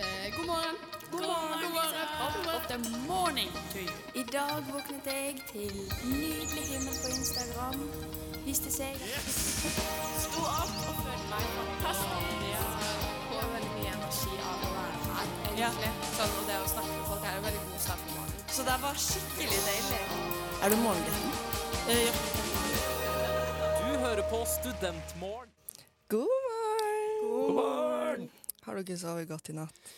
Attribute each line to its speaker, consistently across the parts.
Speaker 1: Eh,
Speaker 2: God morgen. God morgen, god morgen. Up the morning to you.
Speaker 1: I dag våknet jeg til nydelig himmel på Instagram. Viste seg
Speaker 2: Stå opp og følg meg fantastisk. Jeg får veldig mye energi av å være her, egentlig. Sånn, og det å snakke med folk er en veldig god start på morgenen.
Speaker 3: Så det var skikkelig deilig.
Speaker 4: Er du morgengutten?
Speaker 5: Du hører på Studentmorgen.
Speaker 4: God morgen! God
Speaker 6: morgen!
Speaker 4: Har dere sovet godt i natt?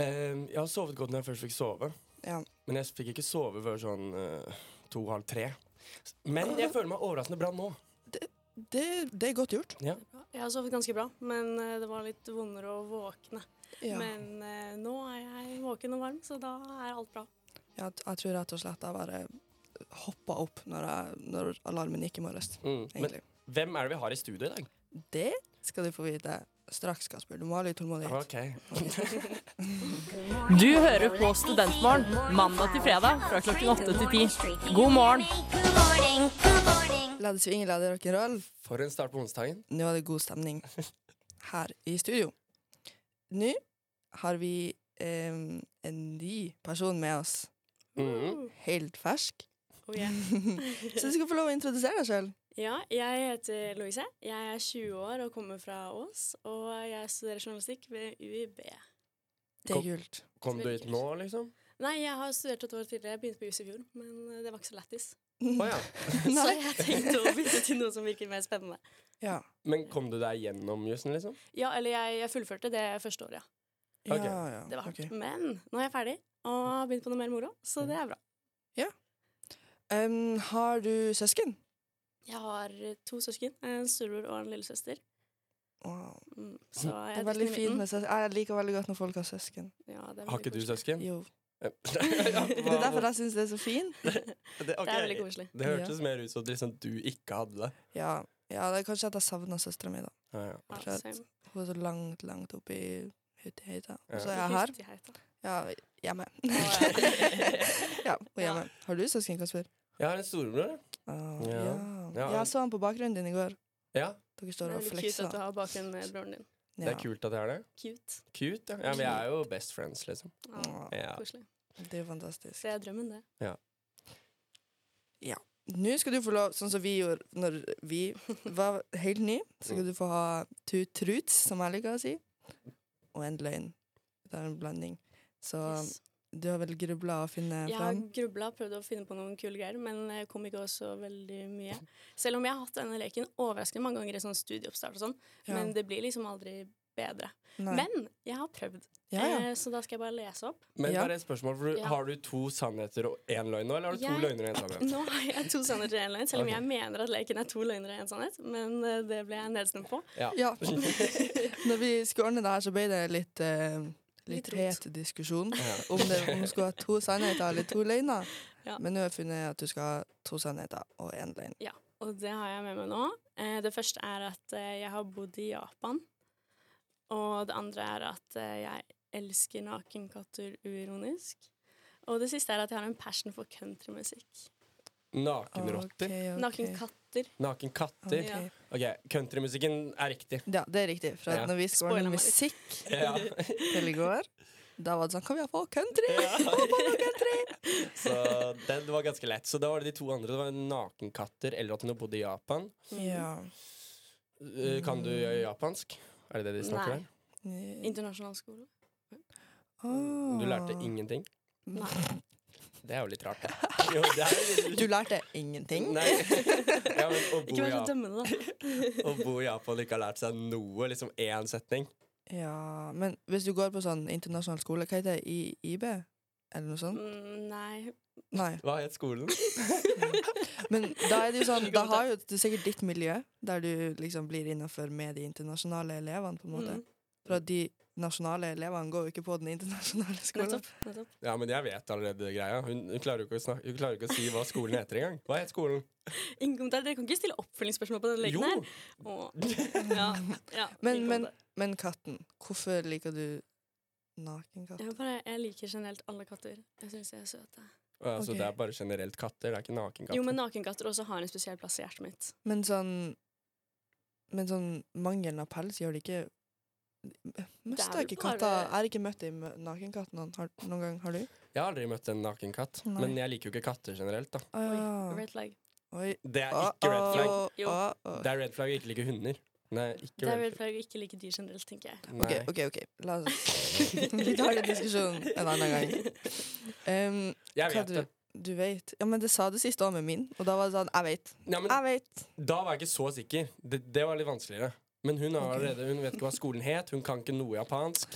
Speaker 6: Ehm, jeg har sovet godt når jeg først fikk sove.
Speaker 4: Ja.
Speaker 6: Men jeg fikk ikke sove før sånn eh, to-halv tre. Men jeg føler meg overraskende bra nå.
Speaker 4: Det, det er godt gjort.
Speaker 6: Ja.
Speaker 7: Jeg har sovet ganske bra, men eh, det var litt vondere å våkne.
Speaker 4: Ja.
Speaker 7: Men eh, nå er jeg våken og varm, så da er alt bra.
Speaker 4: Jeg, jeg tror rett og slett jeg bare hoppa opp når, jeg, når alarmen gikk i morges.
Speaker 6: Mm. Men
Speaker 4: Egentlig.
Speaker 6: hvem er det vi har i studio i dag?
Speaker 4: Det skal du få vite straks, Kasper. Du må ha litt tålmodighet.
Speaker 6: Ok.
Speaker 8: Du hører på Studentmorgen mandag til fredag fra klokken åtte til ti. God morgen!
Speaker 4: Leder sving, leder rock'n'roll.
Speaker 6: For en start på onsdagen.
Speaker 4: Nå er det god stemning her i studio. Nå har vi em, en ny person med oss.
Speaker 6: Mhm.
Speaker 4: Helt fersk.
Speaker 7: Oh, yeah.
Speaker 4: Så du skal få lov å introdusere deg sjøl.
Speaker 7: Ja, jeg heter Louise. Jeg er 20 år og kommer fra Ås. Og jeg studerer journalistikk ved UiB.
Speaker 4: Det er kult.
Speaker 6: Kom du hit nå, liksom?
Speaker 7: Nei, jeg har studert et år tidligere. Jeg begynte på jus i fjor, men eh, det var ikke så lættis.
Speaker 6: Å ja.
Speaker 7: Så
Speaker 6: Sånn.
Speaker 4: Nei.
Speaker 7: jeg tenkte å bytte til noe som virker mer spennende.
Speaker 4: Ja.
Speaker 6: Men kom du deg gjennom jussen, liksom?
Speaker 7: Ja, eller jeg, jeg fullførte det første året, ja.
Speaker 4: Ja,
Speaker 6: Ok.
Speaker 4: ja.
Speaker 7: Det var hardt.
Speaker 4: ok.
Speaker 7: Men nå er jeg ferdig og har begynt på noe mer moro, så det er bra.
Speaker 4: Em, har du søsken?
Speaker 7: Jeg har eh, to søsken, en storebror og en lillesøster.
Speaker 4: Wow.
Speaker 7: Mm, så
Speaker 4: Det
Speaker 7: jeg
Speaker 4: er veldig fint med søsken. Jeg liker veldig godt når folk har søsken.
Speaker 7: mm. Ja, det er
Speaker 6: Har ikke
Speaker 7: veldig
Speaker 6: du
Speaker 7: koselig.
Speaker 6: søsken?
Speaker 4: Jo.
Speaker 6: Ja,
Speaker 4: Det er
Speaker 6: hva-
Speaker 4: derfor jeg syns det er så fint.
Speaker 6: det, ok.
Speaker 7: Det er veldig koselig.
Speaker 6: det hørtes mer ut som at liksom, du ikke hadde det.
Speaker 4: Ja, ja det er kanskje at jeg savner søstera mi, da.
Speaker 6: Ja, ja.
Speaker 7: Ja,
Speaker 4: Klart.
Speaker 7: same.
Speaker 4: Hun er så langt, langt oppe i høyta.
Speaker 6: Ja.
Speaker 4: Og så er jeg her.
Speaker 7: Hyttig heit, da.
Speaker 4: Ja, hjemme.
Speaker 7: Og, eh,
Speaker 4: ja, hun er hjemme. Har du søsken, Kasper?
Speaker 6: Jeg har en storebror.
Speaker 4: Ah,
Speaker 6: Ja.
Speaker 4: ja.
Speaker 6: Ja.
Speaker 4: Jeg så han på bakgrunnen din i går.
Speaker 6: Ja,
Speaker 4: Dere
Speaker 7: Det
Speaker 4: står
Speaker 7: er
Speaker 4: og
Speaker 7: litt cute
Speaker 4: flekser.
Speaker 7: at du har bakgrunn med broren din.
Speaker 6: det er kult at jeg har det.
Speaker 7: Cute.
Speaker 6: Cute, ja. ja vi er jo best friends, liksom.
Speaker 7: Ja,
Speaker 4: Åh,
Speaker 6: Ja.
Speaker 7: Koselig.
Speaker 4: det er jo fantastisk.
Speaker 7: Så jeg drømmen, det.
Speaker 4: Nå skal du få lov, sånn som vi gjorde når vi var helt ny, så skal du få ha to truths, som jeg liker å si, og en løgn. Det er en blanding. Så
Speaker 7: Yes.
Speaker 4: du har vel grubla å finne
Speaker 7: Jeg har
Speaker 4: fram?
Speaker 7: grubla, prøvd å finne på noen kule greier, men jeg kom ikke også veldig mye. Selv om jeg har hatt denne leken overraskende mange ganger i sånn studieoppstart og sånn,
Speaker 4: Ja.
Speaker 7: men det blir liksom aldri bedre.
Speaker 4: Nei.
Speaker 7: Men jeg har prøvd,
Speaker 4: ja, ja.
Speaker 7: Eh, så da skal jeg bare lese opp.
Speaker 6: Men
Speaker 4: Ja.
Speaker 6: bare et spørsmål, for du,
Speaker 7: Ja.
Speaker 6: Har du to sannheter og én løgn nå, eller har du to
Speaker 7: Jeg-
Speaker 6: løgner og én sannhet?
Speaker 7: Nå har jeg to sannheter og én løgn, selv om
Speaker 6: Ok.
Speaker 7: jeg mener at leken er to løgner og én sannhet. Men eh, det ble jeg nedstemt på.
Speaker 4: ja. Når vi skulle ordne det her, så ble det litt eh, Litt
Speaker 7: Litt rot.
Speaker 4: het diskusjon om det om du skulle ha to sannheter eller to løgner.
Speaker 7: Ja.
Speaker 4: Men nå har jeg funnet at du skal ha to sannheter og én løgn.
Speaker 7: Og det har jeg med meg nå. Eh, Det første er at eh, jeg har bodd i Japan. Og det andre er at eh, jeg elsker nakenkatter uironisk. Og det siste er at jeg har en passion for countrymusikk.
Speaker 6: Nakenrotter?
Speaker 4: Ok, ok.
Speaker 7: Nakenkatter.
Speaker 6: Nakenkatter?
Speaker 4: Ok.
Speaker 7: Ja.
Speaker 6: Ok, countrymusikken er riktig.
Speaker 4: Ja, det er riktig. For at
Speaker 6: Ja.
Speaker 4: når vi skulle
Speaker 7: Spoiler
Speaker 4: ordne
Speaker 7: meg
Speaker 4: musikk
Speaker 6: Ja.
Speaker 4: til i går, da var det sånn Kan vi ha få country?
Speaker 6: Så den var ganske lett. Så da var det de to andre. Det var nakenkatter eller at hun har bodd i Japan.
Speaker 7: Mm.
Speaker 4: Ja.
Speaker 6: Eh, Kan du japansk? Er det det de snakker
Speaker 7: Nei.
Speaker 6: om?
Speaker 4: Mm.
Speaker 7: Internasjonal skole.
Speaker 4: Ah.
Speaker 6: Du lærte ingenting?
Speaker 7: Nei.
Speaker 6: Det er jo litt rart. da. Jo, det er jo litt...
Speaker 4: Du lærte ingenting?
Speaker 6: Nei. Ja, men å bo, i
Speaker 7: Ikke vær sånn så
Speaker 6: Japan,
Speaker 7: dømmende, da.
Speaker 6: å bo i Japan og ikke ha lært seg noe, liksom én setning
Speaker 4: Ja, men hvis du går på sånn internasjonal skole, hva heter det? I IB? Eller noe sånt?
Speaker 7: Mm, Nei.
Speaker 4: Nei.
Speaker 6: Hva het skolen?
Speaker 4: Men da er det jo sånn Da har jo du sikkert ditt miljø, der du liksom blir innafor med de internasjonale elevene, på en måte.
Speaker 7: Mm.
Speaker 4: For at de nasjonale elevene går jo ikke på den internasjonale skolen.
Speaker 7: Nettopp. nettopp.
Speaker 6: Ja, men jeg vet allerede greia. Hun, hun, klarer jo ikke å snakke, hun klarer jo ikke å si hva skolen heter engang. Hva het skolen?
Speaker 7: Ingen kommentar. Dere kan ikke stille oppfølgingsspørsmål på denne leken
Speaker 6: Jo!
Speaker 7: her. Åh. Ja. Ja,
Speaker 4: Men, men,
Speaker 7: ingen kommentar.
Speaker 4: men katten. Hvorfor liker du nakenkatt?
Speaker 7: jeg, bare, jeg liker generelt alle katter. Jeg syns de er søte.
Speaker 6: Altså,
Speaker 4: Ok.
Speaker 6: Det er bare generelt katter, det er ikke nakenkatter.
Speaker 7: Jo, men nakenkatter også har en spesiell plass i hjertet mitt.
Speaker 4: Men sånn Men sånn mangelen av pels gjør det ikke Mister
Speaker 7: Det er
Speaker 4: jeg ikke
Speaker 7: vel bare-
Speaker 4: katta? Jeg har ikke møtt ei mø- nakenkatt noen, har, noen gang. Har du?
Speaker 6: Jeg har aldri møtt en naken katt,
Speaker 4: Nei.
Speaker 6: men jeg liker jo ikke katter generelt. da
Speaker 4: Å,
Speaker 7: Oi,
Speaker 4: ja.
Speaker 7: red flag.
Speaker 4: Ah, Oi. Ah,
Speaker 6: Det er ikke red flag.
Speaker 4: Å,
Speaker 7: Jo.
Speaker 4: å, å.
Speaker 6: Det er red flag jeg ikke liker hunder. Nei,
Speaker 7: Det
Speaker 6: ikke
Speaker 7: er
Speaker 6: red
Speaker 7: red flag å ikke like dyr generelt, tenker jeg.
Speaker 6: flag.
Speaker 4: OK,
Speaker 6: Nei.
Speaker 4: OK. ok La oss Vi tar den diskusjonen en annen gang. Em,
Speaker 6: Jeg
Speaker 4: hva
Speaker 6: vet
Speaker 4: du,
Speaker 6: det.
Speaker 4: du vet? Ja, men det sa du sist òg med min, og da var det sånn Jeg vet.
Speaker 6: Ja, men,
Speaker 4: Jeg vet.
Speaker 6: da var jeg ikke så sikker. Det, det var litt vanskeligere. Men hun, har
Speaker 4: Ok.
Speaker 6: allerede, hun vet ikke hva skolen het, hun kan ikke noe japansk.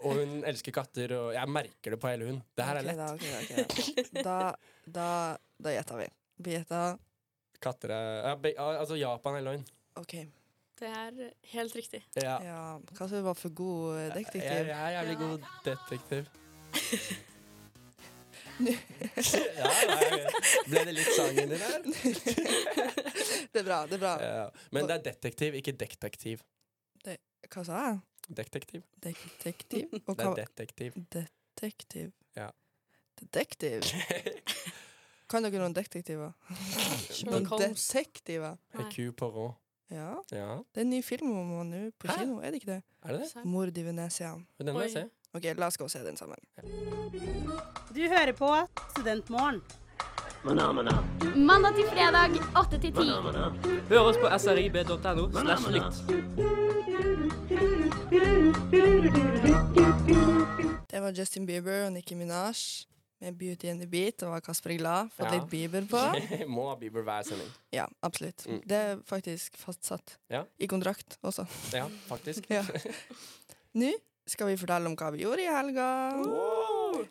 Speaker 6: Og hun elsker katter, og jeg merker det på hele hun. Det her er
Speaker 4: Ok,
Speaker 6: lett.
Speaker 4: da, ok, da, ok, da. Da, da, da gjetter vi. Vi gjetter
Speaker 6: Katter er ja, be, ja, Altså, Japan er løgn.
Speaker 4: OK.
Speaker 7: Det er helt riktig.
Speaker 6: Ja.
Speaker 4: Ja, hva skal vi være for god eh,
Speaker 6: Jeg,
Speaker 4: detektiv?
Speaker 6: jeg er jævlig god detektiv. ja, nei, ble det litt sangen din her?
Speaker 4: Det er bra. det er bra
Speaker 6: Ja. Men det er detektiv, ikke detektiv.
Speaker 4: Hva sa jeg?
Speaker 6: Detektiv.
Speaker 4: Detektiv? Og
Speaker 6: Det
Speaker 4: hva
Speaker 6: er detektiv.
Speaker 4: Detektiv.
Speaker 6: Ja.
Speaker 4: Detektiv? Kan dere noen detektiver? Noen
Speaker 7: Sherlock Holmes.
Speaker 4: detektiver?
Speaker 7: Nei.
Speaker 6: Hercule Poirot.
Speaker 4: Ja.
Speaker 6: Ja,
Speaker 4: Det er en ny film om han nå på
Speaker 6: Hæ?
Speaker 4: kino, er det ikke det?
Speaker 6: er det det?
Speaker 7: Serr.
Speaker 4: Mord i Venezia.
Speaker 6: Den må jeg
Speaker 7: Oi.
Speaker 6: se.
Speaker 4: OK, la oss gå og se den sammen.
Speaker 9: Du hører på Studentmorgen.
Speaker 10: Mandag til fredag, 8 til 10.
Speaker 5: Hør oss på srib.no slash lytt.
Speaker 4: Det var Justin Bieber og Nicki Minaj med 'Beauty and the Beat'. Det var Kasper Glad. Fått
Speaker 6: Ja.
Speaker 4: litt Bieber på.
Speaker 6: Må ha Bieber hver sending.
Speaker 4: Ja, absolutt.
Speaker 6: Mm.
Speaker 4: Det er faktisk fastsatt.
Speaker 6: Ja.
Speaker 4: I kontrakt også.
Speaker 6: Ja, faktisk.
Speaker 4: Ja. Nå skal vi fortelle om hva vi gjorde i helga.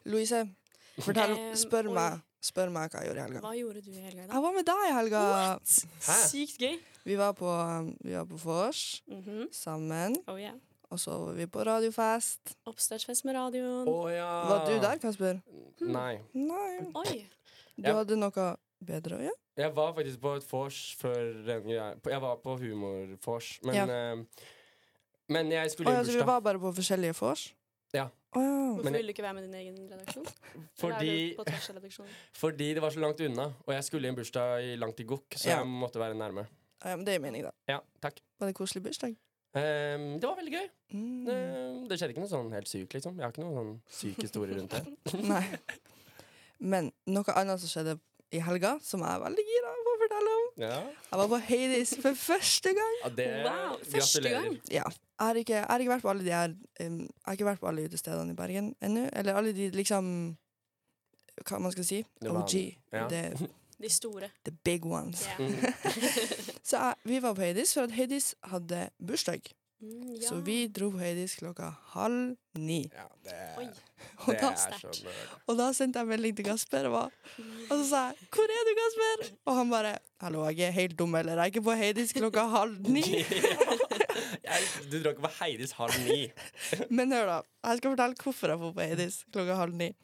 Speaker 4: Louise, fortell,
Speaker 7: Em,
Speaker 4: spør,
Speaker 7: Eh, oi.
Speaker 4: meg, spør meg hva jeg gjorde i helga.
Speaker 7: Hva gjorde du i helga, da?
Speaker 4: Jeg var med deg i helga.
Speaker 6: Hæ?
Speaker 7: Sykt gøy.
Speaker 4: Vi var på, um, vi var på vors
Speaker 7: Mhm.
Speaker 4: sammen,
Speaker 7: Oh yeah.
Speaker 4: og så var vi på radiofest.
Speaker 7: Oppstartsfest med radioen.
Speaker 6: Å ja.
Speaker 4: Var du der, Kasper?
Speaker 6: Nei.
Speaker 4: Nei.
Speaker 7: Oi.
Speaker 4: Du
Speaker 6: Ja.
Speaker 4: hadde noe bedre å gjøre?
Speaker 6: Jeg var faktisk på et vors før den greia. Jeg var på humorvors, men
Speaker 4: Ja.
Speaker 6: eh, Men jeg
Speaker 4: Å
Speaker 6: skulle
Speaker 4: ja,
Speaker 6: i
Speaker 4: så vi
Speaker 6: bursdag.
Speaker 4: var bare på forskjellige vors?
Speaker 6: Ja.
Speaker 4: Å ja.
Speaker 7: Hvorfor
Speaker 6: Men jeg-
Speaker 7: vil du ikke være med din egen redaksjon? Eller er
Speaker 6: Fordi,
Speaker 7: du på tvers av redaksjonen?
Speaker 6: fordi det var så langt unna, og jeg skulle i en bursdag i langt i gokk, så
Speaker 4: Ja.
Speaker 6: jeg måtte være nærme.
Speaker 4: Ja, men det gir mening, da.
Speaker 6: Ja, takk.
Speaker 4: Var det koselig bursdag?
Speaker 6: Ehm, det var veldig gøy. Det,
Speaker 4: Mm.
Speaker 6: det skjedde ikke noe sånn helt sykt, liksom. Jeg har ikke noen sånn syk historie rundt det.
Speaker 4: Mm. Nei. Men noe annet som skjedde i helga, som jeg er veldig gira på å fortelle om.
Speaker 6: Ja,
Speaker 4: Jeg var på Hades for første gang.
Speaker 6: ja det
Speaker 7: Wow, første
Speaker 6: Gratulerer.
Speaker 7: gang.
Speaker 4: Ja. Jeg har ikke, jeg har ikke vært på alle de her um, Jeg har ikke vært på alle utestedene i Bergen ennå. Eller alle de liksom Hva man skal si?
Speaker 6: Det var-
Speaker 4: OG.
Speaker 6: ja.
Speaker 4: The,
Speaker 7: De store.
Speaker 4: the big ones.
Speaker 7: Ja.
Speaker 6: Mm.
Speaker 4: Så jeg, vi var på Hades for at Hades hadde bursdag.
Speaker 7: Mm, ja.
Speaker 4: Så vi dro på Hades klokka halv ni.
Speaker 6: Ja, det,
Speaker 7: Oi.
Speaker 4: Og
Speaker 6: det
Speaker 4: da,
Speaker 6: er
Speaker 7: sterkt.
Speaker 6: sånn eh,
Speaker 4: og da sendte jeg melding til Kasper, og, var- og så sa jeg 'Hvor er du, Kasper?' Og han bare 'Hallo, jeg er helt dum, eller? Jeg er ikke på Hades klokka halv ni.'
Speaker 6: jeg, Du drar ikke på Heidis halv ni.
Speaker 4: Men hør, da. Jeg skal fortelle hvorfor jeg var på Hades klokka halv ni.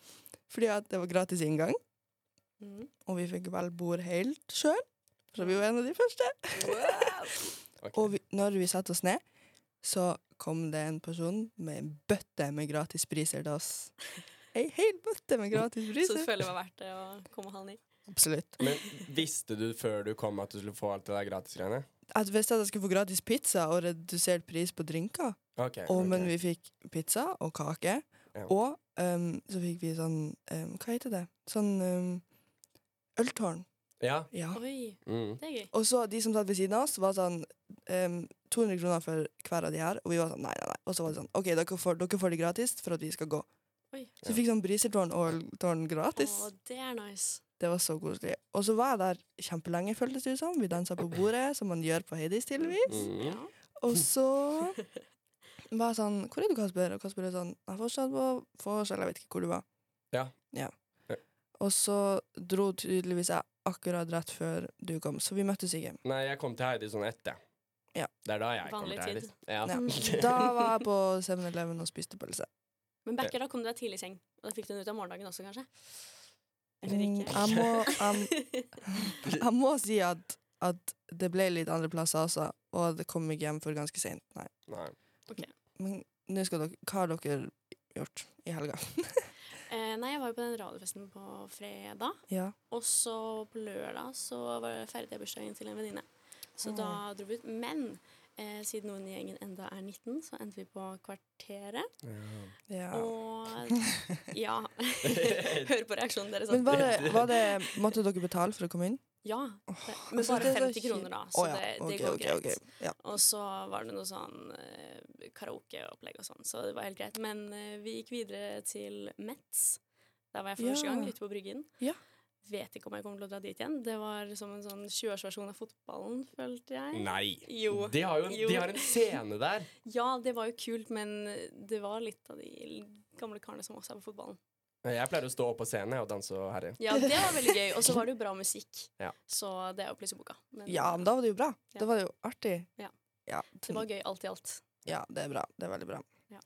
Speaker 4: Fordi at det var gratis inngang.
Speaker 7: Mm.
Speaker 4: Og vi fikk vel bord helt sjøl, så vi var en av de første.
Speaker 6: Ok.
Speaker 4: Og vi, når vi satte oss ned, så kom det en person med en bøtte med gratis priser til oss. Ei hel bøtte med gratis
Speaker 7: Så du
Speaker 4: priser.
Speaker 7: føler det var verdt det å komme halv ni?
Speaker 4: Absolutt.
Speaker 6: Men visste du før du kom at du skulle få alt det der gratisgreiene?
Speaker 4: Jeg visste at jeg skulle få gratis pizza og redusert pris på drinker.
Speaker 6: Ok,
Speaker 4: Og,
Speaker 6: ok.
Speaker 4: men vi fikk pizza og kake.
Speaker 6: Ja.
Speaker 4: Og ehm, så fikk vi sånn ehm, Hva heter det? Sånn ehm, øltårn.
Speaker 6: Ja.
Speaker 4: Ja.
Speaker 7: Oi,
Speaker 6: Mm.
Speaker 7: det er gøy.
Speaker 4: Og så de som satt ved siden av oss, var sånn ehm, 200 kroner for hver av de her. Og vi var sånn nei, nei, nei. Og så var det sånn OK, dere får, dere får det gratis for at vi skal gå.
Speaker 7: Oi.
Speaker 4: Så vi fikk sånn brisetårn og øltårn gratis.
Speaker 7: Å, det er nice.
Speaker 4: Det var så koselig. Og så var jeg der kjempelenge, føltes det ut som. Vi dansa på bordet, som man gjør på Heidis, tydeligvis.
Speaker 6: Mm.
Speaker 7: Ja.
Speaker 4: Og så var jeg sånn Hvor er du, Kasper? Og Kasper er sånn Jeg er fortsatt på vors, eller jeg vet ikke hvor du var.
Speaker 6: Ja.
Speaker 4: ja.
Speaker 6: Ja.
Speaker 4: Og så dro tydeligvis jeg akkurat rett før du kom, så vi møttes ikke.
Speaker 6: Nei, jeg kom til Heidi sånn etter.
Speaker 4: Ja.
Speaker 6: Det er da jeg liksom.
Speaker 7: Vanlig
Speaker 6: kom til
Speaker 7: tid.
Speaker 6: Heidi. Ja.
Speaker 4: Ja. Mm, Da var jeg på 7-Eleven og spiste pølse.
Speaker 7: Men Becker, da kom du deg tidlig i seng. Og da fikk du den ut av morgendagen også, kanskje? Eller
Speaker 4: Mm, Jeg
Speaker 7: ikke?
Speaker 4: må, jeg, jeg må si at, at det ble litt andre plasser også, og det kom ikke hjem for ganske seint. Nei.
Speaker 6: Nei.
Speaker 4: Men nå skal dere Hva har dere gjort i helga?
Speaker 7: Eh, nei, jeg var jo på den radiofesten på fredag.
Speaker 4: Ja.
Speaker 7: Og så på lørdag så var det ferdig bursdagen til en venninne. Så da dro vi ut. Men eh, siden noen i gjengen enda er 19, så endte vi på Kvarteret.
Speaker 4: Ja.
Speaker 7: Og ja. Hør på reaksjonen deres.
Speaker 4: Men var det, var det, måtte dere betale for å komme inn?
Speaker 7: Ja. Det, men
Speaker 4: altså, det
Speaker 7: bare
Speaker 4: er så
Speaker 7: 50 kroner,
Speaker 4: kjipt.
Speaker 7: da,
Speaker 4: Å,
Speaker 7: så
Speaker 4: ja.
Speaker 7: Altså, det, det
Speaker 4: Ok,
Speaker 7: går
Speaker 4: ok,
Speaker 7: greit.
Speaker 4: ok. Ja.
Speaker 7: Og så var det noe sånn eh, karaokeopplegg og sånn, så det var helt greit. Men eh, vi gikk videre til Metz. Der var jeg for
Speaker 4: Ja.
Speaker 7: første gang, ute på Bryggen.
Speaker 4: Ja.
Speaker 7: Vet ikke om jeg kommer til å dra dit igjen. Det var som en sånn 20-årsversjon av fotballen, følte jeg.
Speaker 6: Nei.
Speaker 7: Jo.
Speaker 6: De har jo
Speaker 7: Jo.
Speaker 6: De har en scene der.
Speaker 7: Ja, det var jo kult, men det var litt av de gamle karene som også er på fotballen.
Speaker 6: Jeg pleier å stå opp på scenen jeg, og danse og herje.
Speaker 7: Ja, det var veldig gøy. Og så var det jo bra musikk,
Speaker 6: Ja.
Speaker 7: så det er jo plutselig boka. Men
Speaker 4: Ja, men da var det jo bra.
Speaker 7: Ja.
Speaker 4: Da var det jo artig.
Speaker 7: Ja.
Speaker 4: Ja,
Speaker 7: det var gøy alt i alt.
Speaker 4: ja, det er bra. Det er veldig bra.
Speaker 7: Ja.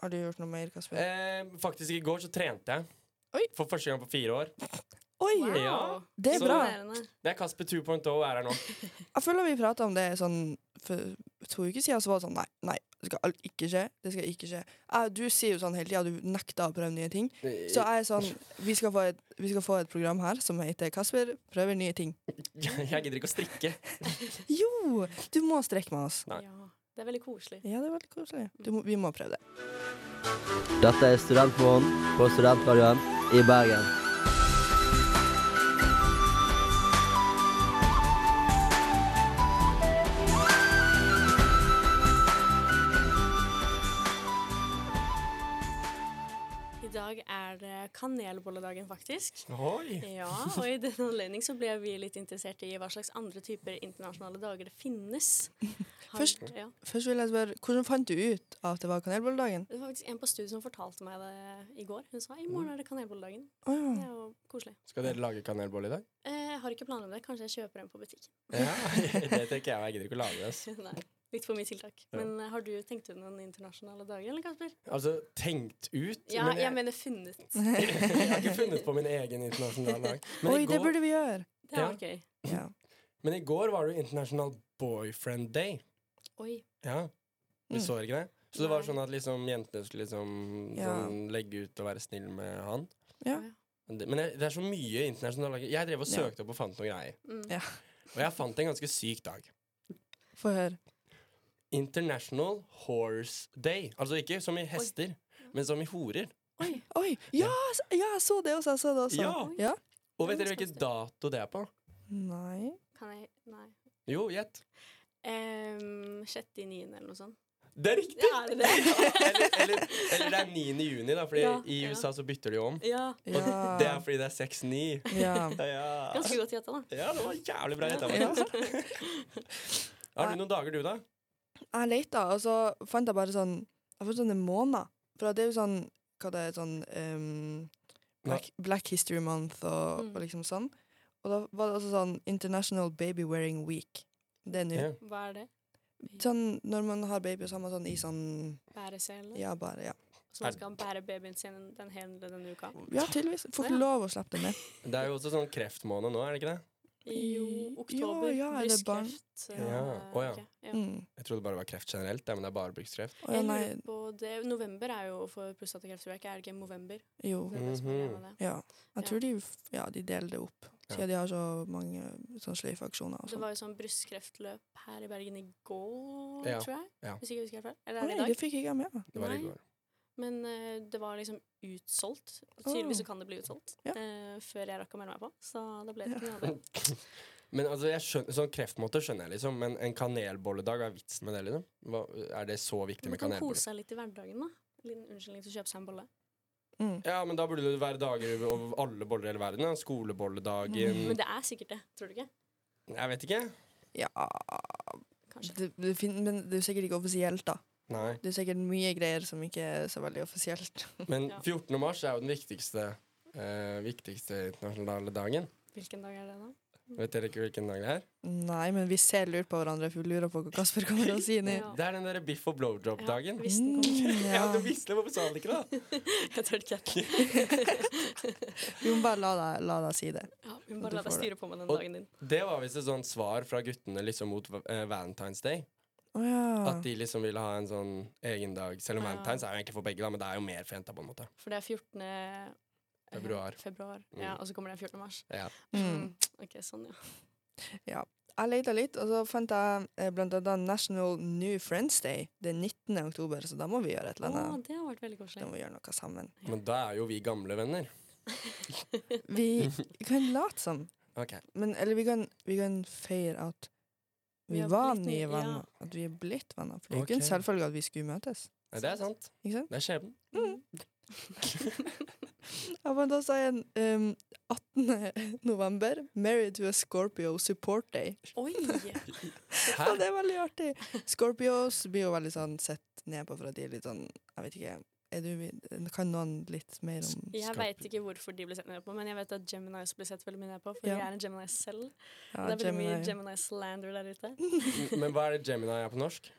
Speaker 4: Har du gjort noe mer, Kasper?
Speaker 6: Eh, faktisk, i går så trente jeg.
Speaker 4: Oi.
Speaker 6: For første gang på fire år.
Speaker 4: Oi!
Speaker 7: Wow.
Speaker 6: Ja.
Speaker 4: Det er
Speaker 6: Så-
Speaker 4: bra.
Speaker 7: Imponerende.
Speaker 6: Det er Kasper 2.0 er her nå.
Speaker 4: Jeg føler vi prata om det sånn for to uker siden, så var det sånn nei, nei, det skal alt ikke skje. Det skal ikke skje. Jeg, du sier jo sånn hele tida, du nekter å prøve nye ting. Så jeg er sånn vi skal, få et, vi skal få et program her som heter Kasper prøver nye ting.
Speaker 6: Jeg gidder ikke å strikke.
Speaker 4: Jo! Du må strekke med oss.
Speaker 6: Nei.
Speaker 7: Ja, det er veldig koselig.
Speaker 4: Ja, det er veldig koselig. Du må, vi må prøve det.
Speaker 11: Dette er Studentmorgen på Studentradioen i Bergen.
Speaker 7: I dag er det kanelbolledagen, faktisk.
Speaker 6: Oi.
Speaker 7: Ja, og i den anledning så ble vi litt interessert i hva slags andre typer internasjonale dager det finnes. Har-
Speaker 4: Først-
Speaker 7: ja.
Speaker 4: Først vil jeg spørre, hvordan fant du ut at det var kanelbolledagen?
Speaker 7: Det var faktisk en på studiet som fortalte meg det i går. Hun sa i morgen er det kanelbolledagen.
Speaker 4: Å
Speaker 7: Det
Speaker 4: ja.
Speaker 7: er jo koselig.
Speaker 6: Skal dere lage kanelbolle i dag?
Speaker 7: Eh, Jeg har ikke planer om det. Kanskje jeg kjøper en på butikken.
Speaker 6: Ja, det tenker jeg. og Jeg gidder ikke å lage det. ass.
Speaker 7: Nei, litt for mye tiltak.
Speaker 6: Ja.
Speaker 7: Men eh, har du tenkt ut noen internasjonale dager, eller Kasper?
Speaker 6: Altså, tenkt ut
Speaker 7: Ja,
Speaker 6: men
Speaker 7: jeg
Speaker 6: jeg,
Speaker 7: mener funnet.
Speaker 6: jeg har ikke funnet på min egen internasjonale dag. Men,
Speaker 4: Oi,
Speaker 6: i
Speaker 4: det
Speaker 6: går,
Speaker 4: burde vi gjøre.
Speaker 7: Det
Speaker 6: Ja.
Speaker 7: var gøy.
Speaker 4: Ja.
Speaker 6: men i går var det jo internasjonal boyfriend day.
Speaker 7: Oi.
Speaker 6: Ja, vi
Speaker 4: Mm.
Speaker 6: så ikke det. Så det var
Speaker 7: Nei.
Speaker 6: sånn at liksom, jentene skulle liksom,
Speaker 4: Ja.
Speaker 6: sånn, legge ut og være snill med han.
Speaker 4: Ja.
Speaker 6: Men det- Men jeg, det er så mye internasjonale dager. Jeg drev og
Speaker 4: Ja.
Speaker 6: søkte opp og fant noen greier.
Speaker 7: Mm.
Speaker 4: Ja.
Speaker 6: Og jeg fant en ganske syk dag.
Speaker 4: Få høre.
Speaker 6: International Horse Day. Altså ikke som i hester, men som i horer.
Speaker 4: Oi! Ja, s- ja, jeg så det også. Jeg så det også.
Speaker 6: Ja.
Speaker 4: ja.
Speaker 6: Og vet
Speaker 7: Det er
Speaker 6: dere hvilken
Speaker 7: spennende.
Speaker 6: dato det er på?
Speaker 4: Nei
Speaker 7: Kan jeg Nei.
Speaker 6: Jo, gjett.
Speaker 7: Um, 6.9. eller noe sånt.
Speaker 6: Det er riktig!
Speaker 7: Ja, er det det?
Speaker 6: eller, eller, eller det er 9. juni, da, Fordi
Speaker 7: Ja,
Speaker 6: i
Speaker 7: ja.
Speaker 6: USA så bytter de jo om.
Speaker 7: ja.
Speaker 6: Og
Speaker 4: Ja.
Speaker 6: det er fordi det er 6-9.
Speaker 4: Ja.
Speaker 6: Ja.
Speaker 7: Ganske godt gjetta, da.
Speaker 6: ja, det var jævlig bra gjetta. Mathias. Har du noen dager, du, da?
Speaker 4: Jeg leita, og så fant jeg bare sånn Jeg fant sånne måneder. For det er jo sånn Hva det er sånn ehm, Black, Black History Month og,
Speaker 7: Mm.
Speaker 4: og liksom sånn. Og da var det også sånn International Baby Wearing Week. Det er nå.
Speaker 6: Ja.
Speaker 7: Hva er det?
Speaker 4: Sånn når man har baby, så har man sånn i sånn
Speaker 7: Bæreselen?
Speaker 4: Ja, bare, ja.
Speaker 7: Så man skal bære babyen sin den hele denne uka?
Speaker 6: Mm.
Speaker 4: Ja, tydeligvis. Får
Speaker 7: Ja.
Speaker 4: ikke lov å slippe det med.
Speaker 6: Det er jo også sånn kreftmåned nå, er det ikke det?
Speaker 7: Jo, oktober.
Speaker 4: Ja, ja, er det barn?
Speaker 7: brystkreft, eh,
Speaker 6: Ja. Å, ja.
Speaker 7: ok, ja.
Speaker 4: Mm.
Speaker 6: Jeg trodde bare det var kreft generelt, ja, men det er bare brystkreft.
Speaker 4: Å ja,
Speaker 7: Jeg
Speaker 4: nei.
Speaker 7: lurer på det. November er jo for prostatakreft, tror jeg. ikke. Er det ikke november?
Speaker 4: Jo.
Speaker 7: Det er det som er greia med det.
Speaker 4: Ja.
Speaker 7: Ja.
Speaker 4: Jeg tror de, f- ja, de deler det opp, siden de har så mange sånn sløyfeaksjoner og
Speaker 7: Det
Speaker 4: sånn.
Speaker 7: var jo sånn brystkreftløp her i Bergen i går,
Speaker 6: Ja,
Speaker 7: tror jeg.
Speaker 6: ja.
Speaker 7: Hvis ikke jeg husker helt feil. Eller
Speaker 4: Å
Speaker 7: er
Speaker 4: nei,
Speaker 7: det i dag?
Speaker 4: det fikk ikke jeg med meg.
Speaker 6: Det var i
Speaker 7: Nei.
Speaker 6: går.
Speaker 7: Men eh, det var liksom utsolgt. Tydeligvis så kan det bli utsolgt
Speaker 4: Ja.
Speaker 7: eh, før jeg rakk å melde meg på. Så da ble det ikke noe av det.
Speaker 6: Men altså, jeg skjønner, Sånn kreftmåte skjønner jeg, liksom, men en kanelbolledag, hva er vitsen med det? liksom? Hva, er det så viktig
Speaker 7: Man
Speaker 6: med
Speaker 7: kan
Speaker 6: kanelbolle?
Speaker 7: kose seg litt i hverdagen, da. Liten unnskyldning til å kjøpe seg en bolle.
Speaker 4: Mm.
Speaker 6: Ja, men da burde det være dager over alle boller i hele verden. Da. Skolebolledagen
Speaker 7: Mm, Men det er sikkert det, tror du ikke?
Speaker 6: Jeg vet ikke.
Speaker 4: Ja,
Speaker 7: Kanskje.
Speaker 4: Det, det fin men det er jo sikkert ikke offisielt, da.
Speaker 6: Nei.
Speaker 4: Det er sikkert mye greier som ikke er så veldig offisielt.
Speaker 6: Men
Speaker 7: Ja.
Speaker 6: 14. mars er jo den viktigste, eh, viktigste internasjonale dagen.
Speaker 7: Hvilken dag er det, da?
Speaker 6: Vet dere ikke hvilken dag det er?
Speaker 4: Nei, men vi ser lurt på hverandre, for vi lurer på hva Kasper kommer til å si nå.
Speaker 7: Ja.
Speaker 6: Det er den derre biff og
Speaker 7: Ja,
Speaker 6: blowjob-dagen.
Speaker 7: hvis den kommer.
Speaker 4: Mm,
Speaker 6: Ja,
Speaker 4: ja.
Speaker 6: du visste det, hvorfor sa du det ikke da?
Speaker 7: Jeg tør ikke.
Speaker 4: Vi må bare la deg, la deg si det.
Speaker 7: Ja, vi må
Speaker 4: Du
Speaker 7: bare la deg
Speaker 4: får det.
Speaker 7: styre på med den
Speaker 6: Og-
Speaker 7: dagen din.
Speaker 6: Det var visst et sånt svar fra guttene liksom mot eh, Valentine's Day.
Speaker 4: Å ja.
Speaker 6: At de liksom ville ha en sånn egen dag. Selv om
Speaker 4: Ah.
Speaker 7: Ja.
Speaker 6: Valentine's er jo egentlig for begge, da, men det er jo mer for jenta, på en måte.
Speaker 7: For det er 14. eh,
Speaker 6: Februar.
Speaker 7: februar.
Speaker 6: Mm.
Speaker 7: Ja, og så kommer det 14. mars.
Speaker 6: Ja.
Speaker 4: Mm.
Speaker 7: Ok, sånn, ja.
Speaker 4: ja. Jeg lette litt, og så fant jeg eh, blant annet National New Friends Day. Det er 19. oktober, så da må vi gjøre et eller
Speaker 7: Å,
Speaker 4: annet.
Speaker 7: det har vært veldig koselig.
Speaker 4: Da må vi gjøre noe sammen.
Speaker 6: Men da er jo vi gamle venner.
Speaker 4: Vi kan late som.
Speaker 6: Ok.
Speaker 4: Men, eller vi kan, vi kan feire at
Speaker 7: Vi
Speaker 4: vi,
Speaker 7: har
Speaker 4: var
Speaker 7: blitt nye,
Speaker 4: nye venner.
Speaker 7: ja.
Speaker 4: At vi er blitt venner. For det er jo ikke en
Speaker 6: Ok.
Speaker 4: selvfølge at vi skulle møtes.
Speaker 6: Nei, det er sant.
Speaker 4: Ikke sant?
Speaker 6: Det er skjebnen.
Speaker 4: Mm. Ja, men da sa jeg um, 18. november. Married to a Scorpio support day.
Speaker 7: Oi!
Speaker 6: Hæ?
Speaker 4: Ja, det er veldig artig. Scorpios blir jo veldig sånn sett ned på for at de er litt sånn Jeg vet ikke. Er du, kan noen litt mer om
Speaker 7: Jeg
Speaker 4: Scorpio?
Speaker 7: veit ikke hvorfor de ble sett ned på, men jeg vet at Geminis blir sett veldig mye ned på, for
Speaker 4: Ja.
Speaker 7: jeg er en Gemini selv.
Speaker 4: Ja,
Speaker 7: det er veldig mye
Speaker 4: Gemini.
Speaker 7: Gemini slander der ute.
Speaker 6: Men hva er det Gemini er på norsk?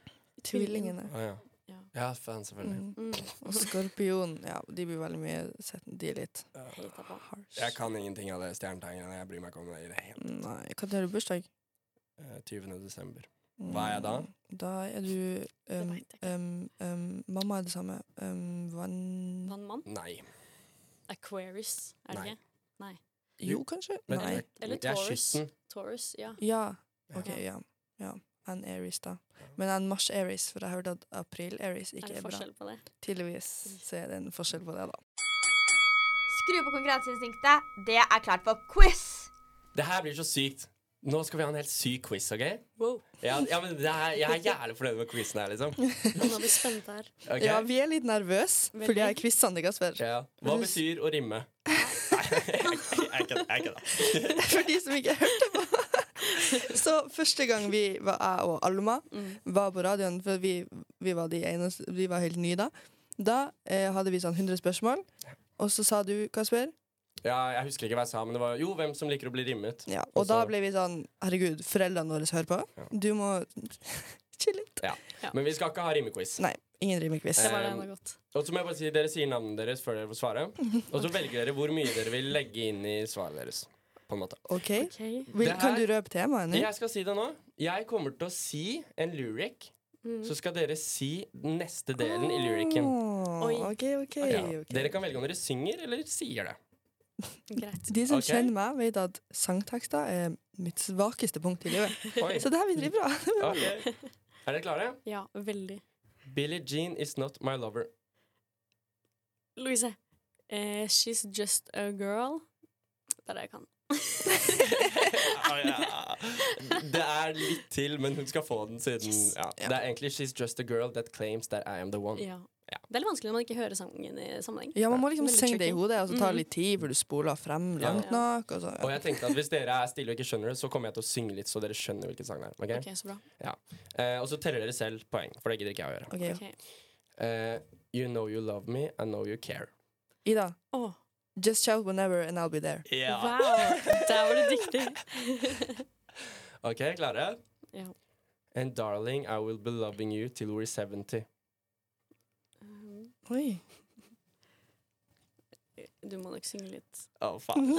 Speaker 4: Tvillingene.
Speaker 6: Å ja.
Speaker 7: Ja.
Speaker 6: Ja, faen, selvfølgelig.
Speaker 4: Mm. Og skorpion. Ja, de blir veldig mye sett De er litt
Speaker 7: Hater på.
Speaker 4: harsh. Mm,
Speaker 6: Jeg kan ingenting av det stjernetegnene. Jeg bryr meg ikke om det i det hele
Speaker 4: Nei, Når har du bursdag?
Speaker 6: Eh, 20. desember. Hva er jeg da?
Speaker 4: Mm, Da er du um,
Speaker 7: vet jeg
Speaker 4: um, um, Mamma er det samme. Um, vann...
Speaker 7: Vannmann?
Speaker 6: Nei.
Speaker 7: Aquarius, er det
Speaker 6: Nei.
Speaker 7: ikke?
Speaker 4: Jo, kanskje?
Speaker 6: Men
Speaker 4: Nei.
Speaker 6: jeg-
Speaker 7: Eller
Speaker 6: Jeg er
Speaker 7: Taurus.
Speaker 6: skytten.
Speaker 7: Taurus, ja.
Speaker 4: Ja. OK, ja. ja. En Aries, da. Men en Mars-Aries, for jeg hørte at april-Aries ikke
Speaker 7: er
Speaker 4: er,
Speaker 7: det
Speaker 4: bra.
Speaker 7: forskjell på det?
Speaker 4: Tydeligvis så er det en forskjell på det, da.
Speaker 3: Skru på konkurranseinstinktet. Det er klart for quiz.
Speaker 6: Det her blir så sykt. Nå skal vi ha en helt syk quiz, OK?
Speaker 7: Wow.
Speaker 6: Ja, ja, men det her, jeg er jævlig fornøyd med quizen her, liksom.
Speaker 7: Nå blir spent her.
Speaker 6: Ok?
Speaker 4: Ja, vi er litt nervøse, fordi jeg er quizene til Kasper.
Speaker 6: Ja. Hva betyr å rimme? Nei, jeg kødder. Jeg kødder.
Speaker 4: For de som ikke hørte på. Så første gang vi var, jeg og Alma
Speaker 6: Mm.
Speaker 4: var på radioen, for vi, vi var de eneste Vi var helt nye da, da eh, hadde vi sånn 100 spørsmål, og så sa du, Kasper
Speaker 6: Ja, jeg husker ikke hva jeg sa, men det var jo hvem som liker å bli rimmet.
Speaker 4: Ja,
Speaker 6: Og
Speaker 4: og da
Speaker 6: så-
Speaker 4: ble vi sånn Herregud, foreldrene våre hører på. Du må chille litt.
Speaker 6: Ja. Men vi skal ikke ha rimequiz.
Speaker 4: Nei, ingen rimequiz.
Speaker 7: Det var det
Speaker 6: Um,
Speaker 7: enda godt.
Speaker 6: Og så må jeg bare si, Dere sier navnet deres før dere får svare. Og så velger dere hvor mye dere vil legge inn i svaret deres. På en måte.
Speaker 4: OK?
Speaker 7: Ok.
Speaker 4: Vil,
Speaker 6: Det
Speaker 4: kan du
Speaker 6: her-
Speaker 4: røpe temaet nå?
Speaker 6: Jeg skal si det nå. Jeg kommer til å si en lyric.
Speaker 7: Mm,
Speaker 6: Så skal dere si den neste delen i lyricen.
Speaker 4: Åh,
Speaker 7: Oi.
Speaker 4: OK, OK.
Speaker 6: Ah, Ja.
Speaker 4: ok.
Speaker 6: Dere kan velge om dere synger eller sier det.
Speaker 7: Greit.
Speaker 4: De som
Speaker 6: Ok.
Speaker 4: kjenner meg, vet at sangtekster er mitt svakeste punkt i livet.
Speaker 6: Oi.
Speaker 4: Så det her blir dritbra.
Speaker 6: Ok. Er dere klare?
Speaker 7: Ja, veldig.
Speaker 6: Billie Jean is not my lover.
Speaker 7: Louise. Eh, she's just a girl. Det er det jeg kan.
Speaker 6: Ah, Det er litt til, men hun skal få den siden ja. Det er egentlig 'She's just a girl that claims that I am the one'.
Speaker 7: Ja. Det er litt vanskelig når man ikke hører sangen i sammenheng.
Speaker 4: Ja, man må liksom
Speaker 7: Veldig
Speaker 4: synge det i
Speaker 7: tricky.
Speaker 4: hodet, og så tar det litt tid før du spoler frem langt nok. Og så,
Speaker 6: Og jeg tenkte at Hvis dere er stille og ikke skjønner det, så kommer jeg til å synge litt. Så dere skjønner hvilken sang det er. ok?
Speaker 7: Ok, så bra.
Speaker 6: Ja. Eh, og så teller dere selv poeng, for det gidder ikke jeg å gjøre.
Speaker 4: Ok,
Speaker 7: Ok.
Speaker 6: Eh, you know you love me, I know you care.
Speaker 4: Ida,
Speaker 7: Åh,
Speaker 4: just shout whenever and I'll be there.
Speaker 7: wow! Der var du dyktig.
Speaker 6: Ok, klare?
Speaker 7: Ja.
Speaker 6: And darling, I will be loving you till we're 70.
Speaker 4: Oi.
Speaker 7: Du må nok synge litt.
Speaker 6: Oh, faen.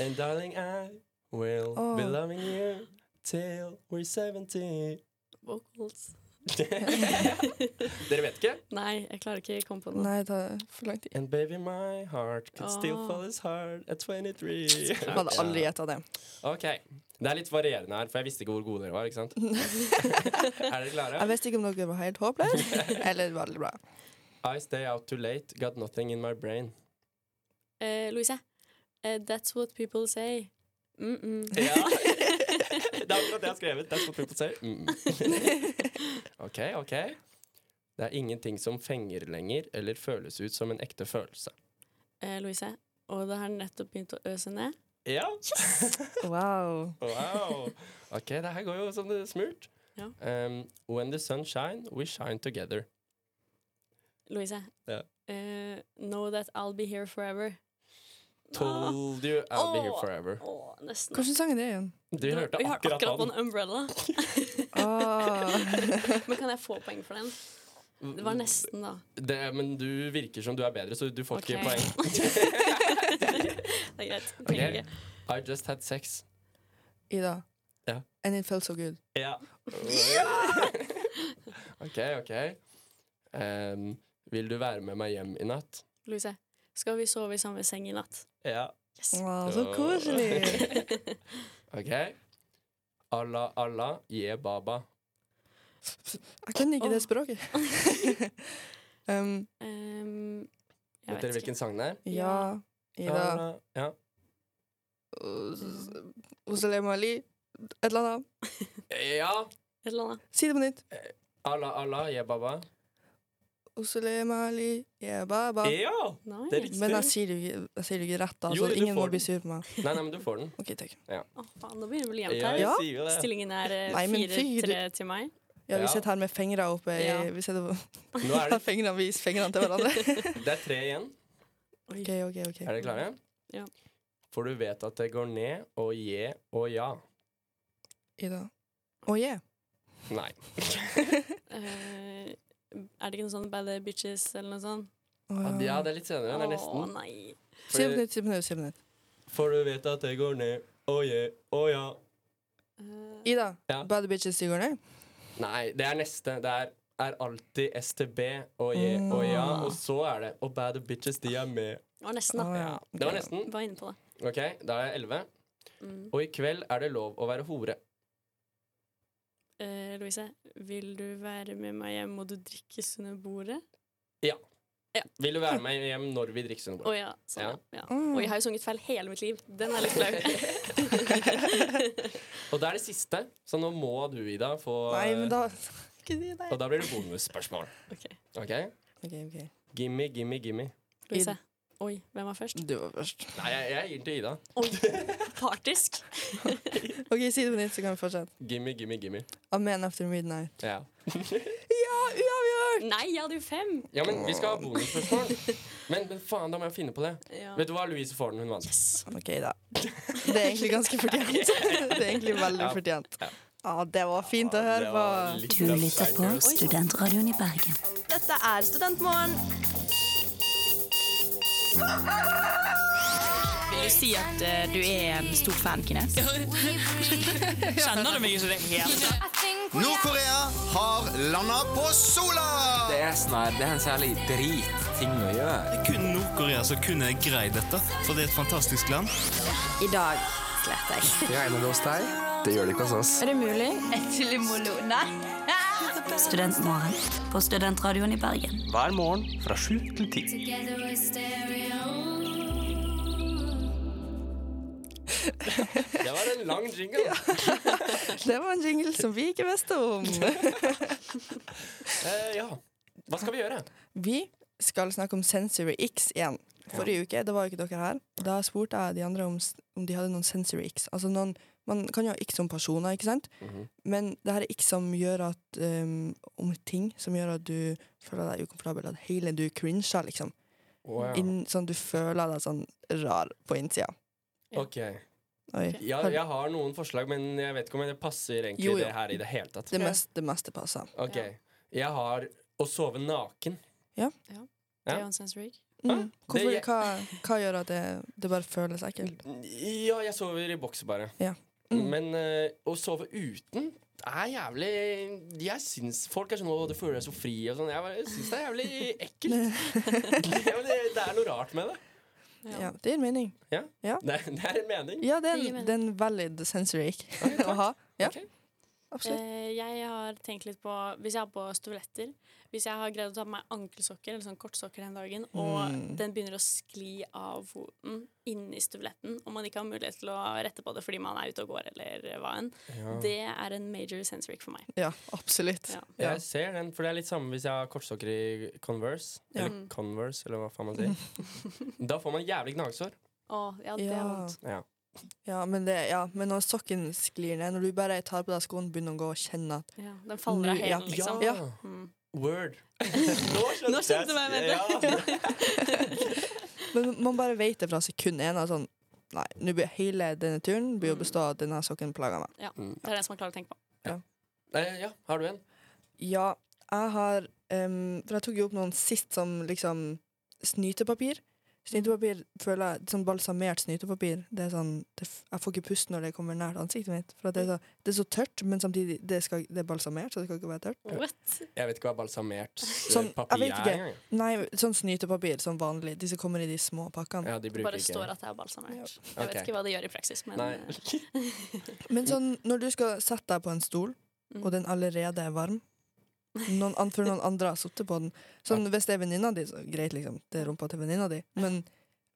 Speaker 6: And darling, I will be
Speaker 4: Åh.
Speaker 6: loving you till we're 70.
Speaker 7: Vocals.
Speaker 6: Dere vet ikke?
Speaker 7: Nei, jeg klarer ikke å komme på noe.
Speaker 4: Nei, det tar for lang tid.
Speaker 6: And baby, my heart could still
Speaker 7: Åh.
Speaker 6: fall as hard at 23.
Speaker 4: Jeg hadde aldri gjetta det.
Speaker 6: Ok. Det er litt varierende her, for jeg visste ikke hvor gode dere var. ikke sant? er dere klare?
Speaker 4: Jeg visste ikke om dere var helt håpløse eller veldig bra.
Speaker 6: I stay out too late, got nothing in my brain.
Speaker 7: Eh, Louise. Eh, that's what people say. Mm -mm.
Speaker 6: Ja. det er akkurat det jeg har skrevet. That's what people say. Mm. OK, OK. Det er ingenting som fenger lenger eller føles ut som en ekte følelse.
Speaker 7: Eh, Louise. Og det har nettopp begynt å øse ned.
Speaker 6: Ja.
Speaker 4: Wow.
Speaker 6: Wow. OK, det her går jo som det er smurt.
Speaker 7: Ja.
Speaker 6: Um, when the sun shine, we shine together.
Speaker 7: Louise.
Speaker 6: Ja.
Speaker 7: Eh, know that I'll be here forever.
Speaker 6: Told you I'll be here
Speaker 7: Åh.
Speaker 6: forever.
Speaker 7: Åh, nesten.
Speaker 4: Hvordan sang er det igjen?
Speaker 6: Du hørte
Speaker 7: Vi har
Speaker 6: akkurat
Speaker 7: akkurat på
Speaker 6: han.
Speaker 7: en umbrella.
Speaker 4: Ah.
Speaker 7: Men kan jeg få poeng for den? Det var nesten, da.
Speaker 6: Mm, Det, men du virker som du er bedre, så du får
Speaker 7: Ok.
Speaker 6: ikke poeng.
Speaker 7: Det er greit.
Speaker 6: Ok.
Speaker 7: Trenger ikke.
Speaker 6: I just had sex.
Speaker 4: Ida.
Speaker 6: Ja.
Speaker 4: And it felt so good.
Speaker 6: Ja. OK, OK. Ehm, vil du være med meg hjem i natt?
Speaker 7: Louise, skal vi sove i samme seng i natt?
Speaker 6: Ja.
Speaker 4: Wow, så koselig.
Speaker 6: OK. Allah Allah ye baba.
Speaker 4: Jeg kan ikke det språket. um,
Speaker 7: Um,
Speaker 6: Vet
Speaker 7: jeg
Speaker 6: dere
Speaker 7: vet ikke.
Speaker 6: hvilken sang det er?
Speaker 4: ja, Ida.
Speaker 6: Allah- Ja.
Speaker 4: Oselem Ali. Et eller annet.
Speaker 6: ja.
Speaker 7: Et eller annet.
Speaker 4: Si det på nytt.
Speaker 6: Allah Allah ye baba.
Speaker 4: Oselem Ali. Yeah, baba.
Speaker 6: Ja!
Speaker 7: Nei.
Speaker 6: Det er riktig.
Speaker 4: Men altså- jeg sier det jo ikke- jeg sier det jo ikke rett, da,
Speaker 6: Jo,
Speaker 4: så
Speaker 6: du
Speaker 4: ingen
Speaker 6: får
Speaker 4: må bli
Speaker 6: den.
Speaker 4: sur på meg.
Speaker 6: Nei, nei, men du får den.
Speaker 4: Ok, takk.
Speaker 7: Å, faen, nå begynner vi å bli jevnt
Speaker 6: Ja,
Speaker 7: her.
Speaker 6: jeg
Speaker 4: Ja.
Speaker 6: sier jo det.
Speaker 7: Stillingen er
Speaker 4: Eh, Nei, men fyr.
Speaker 7: 4-3 til meg.
Speaker 4: Ja, vi
Speaker 6: Ja.
Speaker 4: sitter her med fingrene oppe i
Speaker 7: Ja.
Speaker 4: Vi sitter
Speaker 6: Nå er
Speaker 4: på
Speaker 6: det,
Speaker 4: fingrene, vi viser fingrene til hverandre.
Speaker 6: det er tre igjen.
Speaker 4: OK, OK. ok
Speaker 6: Er dere klare?
Speaker 7: Ja.
Speaker 6: For du vet at det går ned og je og ja.
Speaker 4: Ida. Å oh, yeah.
Speaker 6: Nei.
Speaker 7: Eh, er det ikke noe sånn Bad Bitches eller noe sånt?
Speaker 4: Å,
Speaker 6: Ja,
Speaker 4: ja.
Speaker 6: det er litt senere. Det er
Speaker 7: Å
Speaker 6: nesten.
Speaker 7: nei.
Speaker 4: Si det på
Speaker 6: Fordi-
Speaker 4: nytt, si det på nytt. si det på nytt.
Speaker 6: For du vet at det går ned og je og ja.
Speaker 7: Eh,
Speaker 4: Ida.
Speaker 6: Ja.
Speaker 4: Bad bitches stiger ned.
Speaker 6: Nei, det er neste. Det er, er alltid STB og je og ja. Og så er det Og bad bitches, de er med.
Speaker 7: det var nesten,
Speaker 4: Å,
Speaker 7: da.
Speaker 4: ja.
Speaker 6: Det var nesten.
Speaker 7: Var inne på det.
Speaker 6: OK, da er jeg elleve.
Speaker 7: Mm.
Speaker 6: Og i kveld er det lov å være hore.
Speaker 7: Eh, Louise, vil du være med meg hjem, må du drikkes under bordet?
Speaker 6: Vil du være med hjem når vi drikker
Speaker 7: Å
Speaker 6: Sunnebo?
Speaker 7: ja. Sånn,
Speaker 6: Ja.
Speaker 7: ja. ja. Og jeg har jo sunget feil hele mitt liv. Den er litt flau.
Speaker 6: Og det er det siste, så nå må du, Ida, få
Speaker 4: Nei, men da
Speaker 6: Og da blir det bonusspørsmål.
Speaker 7: Ok.
Speaker 6: OK?
Speaker 4: OK, ok
Speaker 6: Gimme, gimme, gimme.
Speaker 7: Louise. Oi, hvem var først?
Speaker 4: Du var først.
Speaker 6: Nei, jeg, jeg gir den til Ida.
Speaker 7: Oi, partisk.
Speaker 4: OK, si det på nytt, så kan vi fortsette.
Speaker 6: Gimme, gimme, gimme.
Speaker 4: A man after midnight.
Speaker 6: Ja.
Speaker 4: Ja, uavgjort!
Speaker 7: Nei, jeg hadde jo fem.
Speaker 6: ja, men vi skal ha bonusspørsmål. Men, men faen, da må jeg finne på det.
Speaker 7: Ja.
Speaker 6: Vet du hva, Louise får den, hun vant.
Speaker 7: Yes.
Speaker 4: Mm, OK, da. Det er egentlig ganske fortjent. Det er egentlig veldig
Speaker 6: Ja.
Speaker 4: fortjent. Ja, det var fint å høre på.
Speaker 6: Du lytter på
Speaker 12: Studentradioen i Bergen.
Speaker 3: Dette er Studentmorgen.
Speaker 8: Vil du si at eh, du er en stor fan kines? Kjenner du meg ikke det helt?
Speaker 13: Nord-Korea har landa på sola!
Speaker 14: Det er
Speaker 6: sånn
Speaker 14: snarere det er en særlig drit ting å gjøre.
Speaker 15: Det er kun Nord-Korea som kunne greid dette, for det er et fantastisk land.
Speaker 12: I dag sletter jeg.
Speaker 14: Regner det hos deg? Det gjør det ikke hos oss.
Speaker 12: Er det mulig?
Speaker 8: Actually, Molo. Nei.
Speaker 12: Studentmorgen på Studentradioen i Bergen.
Speaker 14: Hver morgen fra sju til ti.
Speaker 6: Det var en lang jingle.
Speaker 4: Det var en jingle som vi ikke visste om.
Speaker 6: Eh, ja. Hva skal vi gjøre?
Speaker 4: Vi skal snakke om Sensory X igjen. Forrige uke da var jo ikke dere her. Da spurte jeg de andre om, s- om de hadde noen Sensory X. Altså noen, man kan jo ha X som personer, ikke sant?
Speaker 14: Mhm.
Speaker 4: Men det her er X som gjør at um, Om ting som gjør at du føler deg ukomfortabel. At hele du cringer, liksom.
Speaker 6: Wow.
Speaker 4: Inn, sånn at du føler deg sånn rar på innsida.
Speaker 6: OK.
Speaker 4: Oi.
Speaker 6: Ja, jeg har noen forslag, men jeg vet ikke om det passer egentlig
Speaker 4: Jo, jo.
Speaker 6: det her i det hele tatt.
Speaker 4: Det meste, det meste passer.
Speaker 6: OK. Jeg har å sove naken.
Speaker 7: Det er
Speaker 6: Ja.
Speaker 7: jo en sensory.
Speaker 4: Mm. Hvorfor,
Speaker 6: Det-
Speaker 4: hva, hva gjør at det, det bare føles ekkelt?
Speaker 6: Ja, jeg sover i bokser bare.
Speaker 4: Ja.
Speaker 6: Men eh, å sove uten er jævlig Jeg syns folk er sånn 'Å, du føler deg så fri' og sånn. Jeg bare syns det er jævlig ekkelt. det, er, vel- det er noe rart med det.
Speaker 4: Ja, det gir mening.
Speaker 6: Det, er- det er en mening.
Speaker 4: Ja, det er
Speaker 7: Det gir
Speaker 4: en,
Speaker 7: mening.
Speaker 4: det er en valid sensory ick å ha. Ja.
Speaker 6: Ok.
Speaker 4: Absolutt.
Speaker 7: Eh, jeg har tenkt litt på Hvis jeg har på støvletter Hvis jeg har greid å ta på meg ankelsokker eller sånn kortsokker den dagen, og
Speaker 4: Mm.
Speaker 7: den begynner å skli av foten inni støvletten, og man ikke har mulighet til å rette på det fordi man er ute og går eller hva enn,
Speaker 6: Ja.
Speaker 7: det er en major sensory for meg.
Speaker 4: Ja, absolutt.
Speaker 7: Ja.
Speaker 4: Ja.
Speaker 6: Jeg ser den, for det er litt samme hvis jeg har kortsokker i Converse.
Speaker 4: Ja.
Speaker 6: Eller Converse, eller hva faen man sier. da får man jævlig gnagsår.
Speaker 7: Å, ja, det er
Speaker 4: Ja.
Speaker 7: vondt.
Speaker 6: Ja.
Speaker 4: Ja, men det, ja, men når sokken sklir ned, når du bare tar på deg skoen, begynner å gå og kjenne at
Speaker 7: Ja, den faller av
Speaker 4: Ny- ja.
Speaker 7: hælen, liksom.
Speaker 4: Ja.
Speaker 7: Mm.
Speaker 6: Word. Nå skjønte,
Speaker 7: Nå skjønte du hva jeg
Speaker 6: Ja.
Speaker 4: Men man bare vet det fra sekund én. at Sånn, nei, nå blir hele denne turen blir å bestå av at denne sokken plager meg.
Speaker 7: Ja,
Speaker 6: Mm.
Speaker 7: det er det som man klarer å tenke på.
Speaker 6: Eh, ja, har du en?
Speaker 4: Ja, jeg har em, For jeg tok jo opp noen sist som liksom snytepapir. Snytepapir føler jeg Sånn balsamert snytepapir det er sånn, det, f- Jeg får ikke pust når det kommer nært ansiktet mitt. For at det, er så, det er så tørt, men samtidig det, skal, det er balsamert, så det skal ikke være tørt.
Speaker 6: Jeg vet ikke hva balsamert eh,
Speaker 4: Sånn, jeg
Speaker 6: papir
Speaker 4: vet
Speaker 6: er
Speaker 4: ikke.
Speaker 6: engang.
Speaker 4: Nei, sånn snytepapir, sånn vanlig. De som kommer i de små pakkene.
Speaker 6: Ja, de
Speaker 7: Det bare står at det er balsamert. Jeg
Speaker 4: Ok.
Speaker 7: vet ikke hva det gjør i praksis, men eh,
Speaker 6: Nei.
Speaker 4: Men sånn, når du skal sette deg på en stol,
Speaker 7: mm.
Speaker 4: og den allerede er varm noen an, Før noen andre har sittet på den. Sånn, Hvis det er venninna di, så greit, liksom. Det er rumpa til venninna di. Men,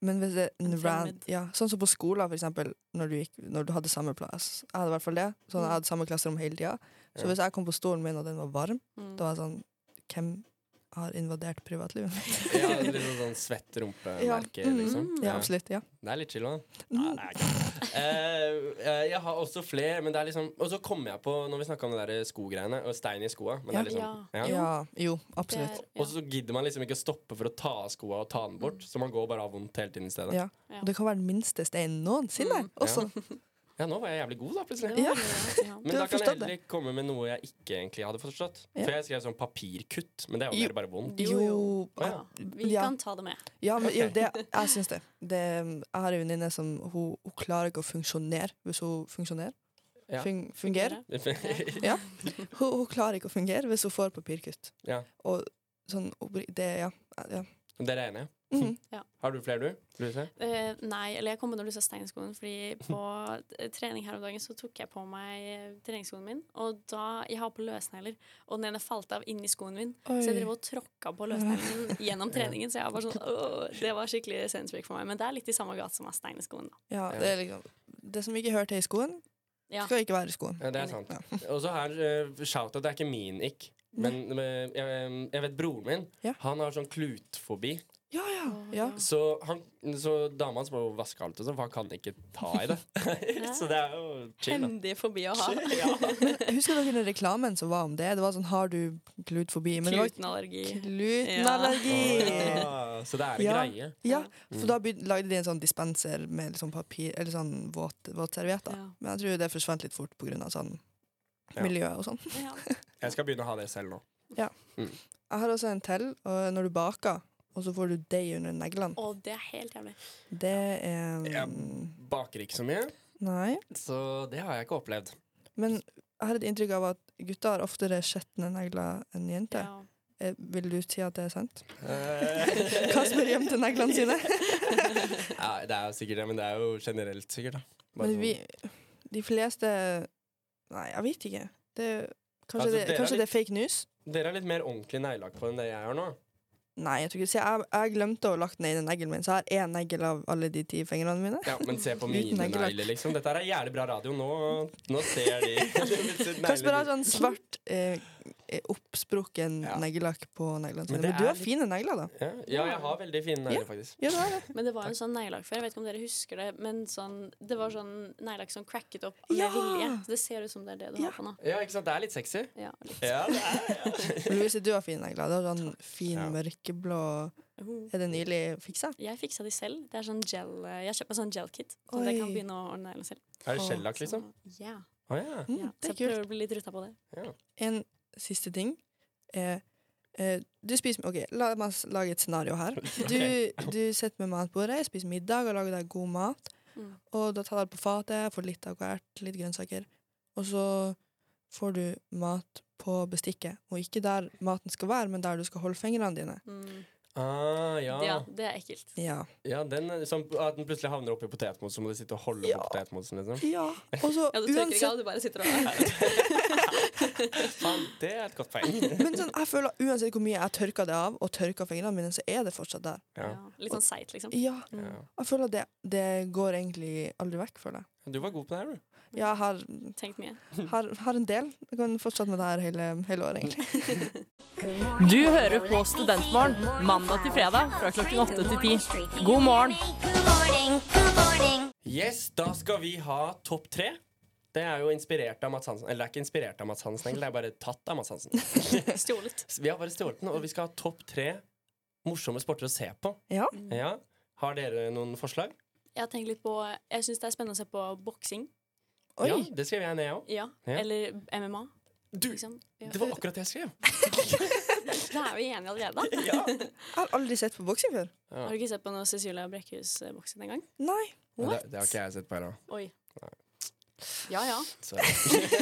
Speaker 4: men hvis det er en ran, ja, Sånn som på skolen, for eksempel, når du, gikk, når du hadde samme plass. Jeg hadde i hvert fall det. Sånn, jeg hadde samme klasserom hele tida. Så
Speaker 6: Ja.
Speaker 4: hvis jeg kom på stolen min, og den var varm,
Speaker 6: Mm.
Speaker 4: da var jeg sånn Hvem har invadert privatlivet mitt?
Speaker 6: Ja, det er litt sånn- sånn svett rumpemerke,
Speaker 4: Ja. Mm.
Speaker 6: liksom.
Speaker 4: Ja, absolutt, Mm. ja.
Speaker 6: Det er litt chill, da. Nei, det er ikke. Eh, eh, jeg har også flere, men det er liksom Og så kom jeg på, når vi snakka om det der eh, skogreiene, og stein i skoa men det er liksom,
Speaker 4: ja. ja. Jo, absolutt.
Speaker 6: Og så gidder man liksom ikke å stoppe for å ta av skoa og ta den bort, så man går bare av vondt hele tiden i stedet.
Speaker 4: Mm. Ja. Mm. Og det kan være den minste steinen noensinne også.
Speaker 6: Ja, nå var jeg jævlig god, da, plutselig.
Speaker 4: Ja.
Speaker 6: Men
Speaker 4: Du
Speaker 6: da
Speaker 4: har
Speaker 6: kan jeg
Speaker 4: forstått
Speaker 6: heller
Speaker 4: det.
Speaker 6: komme med noe jeg ikke egentlig hadde forstått.
Speaker 4: Ja.
Speaker 6: For jeg skrev sånn papirkutt, men det er jo mer bare vondt.
Speaker 4: Jo,
Speaker 6: Å,
Speaker 4: ja.
Speaker 7: vi
Speaker 4: Ja.
Speaker 7: kan ta det med.
Speaker 4: Ja, men jo,
Speaker 6: Ok.
Speaker 4: det, jeg syns det. det. Jeg har en venninne som hun, hun klarer ikke å funksjonere hvis hun funksjonerer.
Speaker 6: Ja.
Speaker 4: Fung, fungerer.
Speaker 6: Fungere.
Speaker 4: Ja. Hun, hun klarer ikke å fungere hvis hun får papirkutt.
Speaker 6: Ja.
Speaker 4: Og sånn oppriktig- Det, ja. ja.
Speaker 6: Dere er enige?
Speaker 4: Mhm.
Speaker 7: Ja.
Speaker 6: Har du flere, du? Louise?
Speaker 7: Eh, nei, eller jeg kom på når du sa steinskoen, fordi på t- trening her om dagen så tok jeg på meg eh, treningsskoen min, og da Jeg har på løsnegler, og den ene falt av inni skoen min,
Speaker 3: Oi.
Speaker 7: så jeg drev og tråkka på løsneglen gjennom treningen, så jeg var bare sånn åh, Det var skikkelig sensorik for meg, men det er litt i samme gate som av steinskoen, da.
Speaker 4: ja det, er liksom, det som ikke hører til i skoen,
Speaker 7: Ja.
Speaker 4: skal ikke være i skoen.
Speaker 6: Ja, det er sant. Og så her, uh, shout-out, det er ikke min ikk. Men eh, jeg, jeg vet broren min, han har sånn klutfobi.
Speaker 4: Ja, ja. ja.
Speaker 6: Så, han, så dama hans må jo vaske alt, og sånn, for han kan ikke ta i det. så det er jo chill. Da.
Speaker 7: Hendig forbi å ha.
Speaker 4: Husker dere den reklamen som var om det? Det var sånn 'Har du glutfobi?' Men det var-
Speaker 7: Glutenallergi.
Speaker 4: Glutenallergi!
Speaker 6: Ah, så det er en greie.
Speaker 4: Ja, for da byg- lagde de en sånn dispenser med liksom papir, eller sånn våt, våtservietter. Men jeg tror det forsvant litt fort pga. sånn
Speaker 6: Ja.
Speaker 4: miljø og sånn.
Speaker 6: Jeg skal begynne å ha det selv nå.
Speaker 4: Ja.
Speaker 6: Mm.
Speaker 4: Jeg har også en til, og når du baker, og så får du deig under neglene.
Speaker 7: Og det er helt jævlig.
Speaker 4: Det er
Speaker 6: Jeg baker ikke så mye,
Speaker 4: Nei.
Speaker 6: så det har jeg ikke opplevd.
Speaker 4: Men jeg har et inntrykk av at gutter har oftere skjetne negler enn jenter. Eh, Vil du si at det er sant?
Speaker 6: Eh,
Speaker 4: Kasper gjemte neglene sine.
Speaker 6: ja, det er jo sikkert det, men det er jo generelt sikkert, da. Bare
Speaker 4: Men
Speaker 6: sånn-
Speaker 4: vi, de fleste Nei, jeg vet ikke. Det, kanskje
Speaker 6: Altså,
Speaker 4: det,
Speaker 6: dere er
Speaker 4: kanskje det
Speaker 6: litt-
Speaker 4: er fake news?
Speaker 6: sånn. Dere er litt mer ordentlig neglelakk på enn det jeg er nå.
Speaker 4: Nei, jeg tror ikke Se, jeg, jeg glemte å ha lagt den ene neglen min, så jeg har én negl av alle de ti fingrene mine.
Speaker 6: Ja, men se på
Speaker 4: Uten
Speaker 6: mine
Speaker 4: neglelakk.
Speaker 6: negler, liksom. Dette her er jævlig bra radio. Nå, nå ser de
Speaker 4: Kasper har sånn svart, eh, eh, oppsprukken neglelakk på neglene sine.
Speaker 6: Men
Speaker 4: Men,
Speaker 6: det
Speaker 4: du
Speaker 6: er
Speaker 4: har
Speaker 6: litt-
Speaker 4: fine negler, da.
Speaker 6: Ja, ja, jeg har veldig fine negler, faktisk.
Speaker 4: Ja, det
Speaker 7: Men det var en sånn neglelakk før, jeg vet ikke om dere husker det, men sånn, det var sånn neglelakk som cracket opp med
Speaker 4: Ja!
Speaker 7: vilje. Så det ser ut som det er det du har på nå.
Speaker 6: Ja, ikke sant? Det er litt sexy.
Speaker 7: Ja,
Speaker 6: Ja, det er.
Speaker 4: Louise, du har fine negler. Du har sånn fin, mørkeblå Er det nylig fiksa?
Speaker 7: Jeg fiksa de selv. Det er sånn gel, jeg kjøper sånn gel-kit, så jeg
Speaker 4: Oi.
Speaker 7: kan begynne å ordne neglene selv.
Speaker 6: Er det skjellakk, liksom?
Speaker 7: Ja.
Speaker 6: Å ja.
Speaker 4: Mm,
Speaker 7: ja.
Speaker 4: det
Speaker 7: Så
Speaker 4: er
Speaker 7: jeg prøver
Speaker 4: kult.
Speaker 7: å bli litt rutta på det.
Speaker 6: Ja.
Speaker 4: En siste ting er eh, Du spiser OK, la meg s- lage et scenario her. Du, du sitter ved matbordet, spiser middag og lager deg god mat. Og da tar du på fatet, får litt av hvert, litt grønnsaker. Og så får du mat på bestikket. Og ikke der maten skal være, men der du skal holde fingrene dine.
Speaker 6: Ah, ja.
Speaker 7: Ja, Mm, det er ekkelt.
Speaker 4: Ja.
Speaker 6: Ja, den, som, at den plutselig havner oppi potetmos, så må du sitte og holde på potetmosen, liksom.
Speaker 4: Ja, og så
Speaker 7: Ja, du tørker ikke
Speaker 4: uansett
Speaker 7: av, du bare sitter og
Speaker 6: Faen, det er et godt poeng.
Speaker 4: Men sånn, jeg føler uansett hvor mye jeg tørker det av, og tørker fingrene mine, så er det fortsatt der.
Speaker 6: Ja.
Speaker 7: Litt sånn seigt, liksom.
Speaker 4: Ja.
Speaker 6: Ja.
Speaker 4: Jeg føler det, det går egentlig aldri vekk, føler jeg.
Speaker 6: Du var god på det her, du.
Speaker 4: Ja, jeg har,
Speaker 7: Tenkt mye.
Speaker 4: har, har en del. Jeg kan fortsette med det her hele, hele året, egentlig.
Speaker 16: Du hører på Studentmorgen mandag til fredag fra klokken 8 til 10. God morgen!
Speaker 6: Yes, da skal vi ha topp tre. Det er jo inspirert av Mats Hansen. Eller det er ikke inspirert av Mats Hansen, egentlig. Det er bare tatt av Mats Hansen.
Speaker 7: Stjålet.
Speaker 6: Vi har bare stjålet den, og vi skal ha topp tre morsomme sporter å se på.
Speaker 4: Ja.
Speaker 6: ja. Har dere noen forslag?
Speaker 7: Jeg har tenkt litt på Jeg syns det er spennende å se på boksing.
Speaker 6: Ja, det skrev jeg ned òg.
Speaker 7: Ja.
Speaker 6: Ja.
Speaker 7: Eller MMA.
Speaker 6: Du,
Speaker 7: liksom. Ja.
Speaker 6: Det var akkurat det jeg skrev.
Speaker 7: Da er vi enige allerede.
Speaker 4: Jeg har aldri sett på boksing før.
Speaker 7: Har du ikke sett på noe Cecilia Brekkhus-boksen engang?
Speaker 4: Nei.
Speaker 6: Nei, Det, det har ikke jeg sett på her nå.
Speaker 7: Oi. Ja ja.
Speaker 6: Så.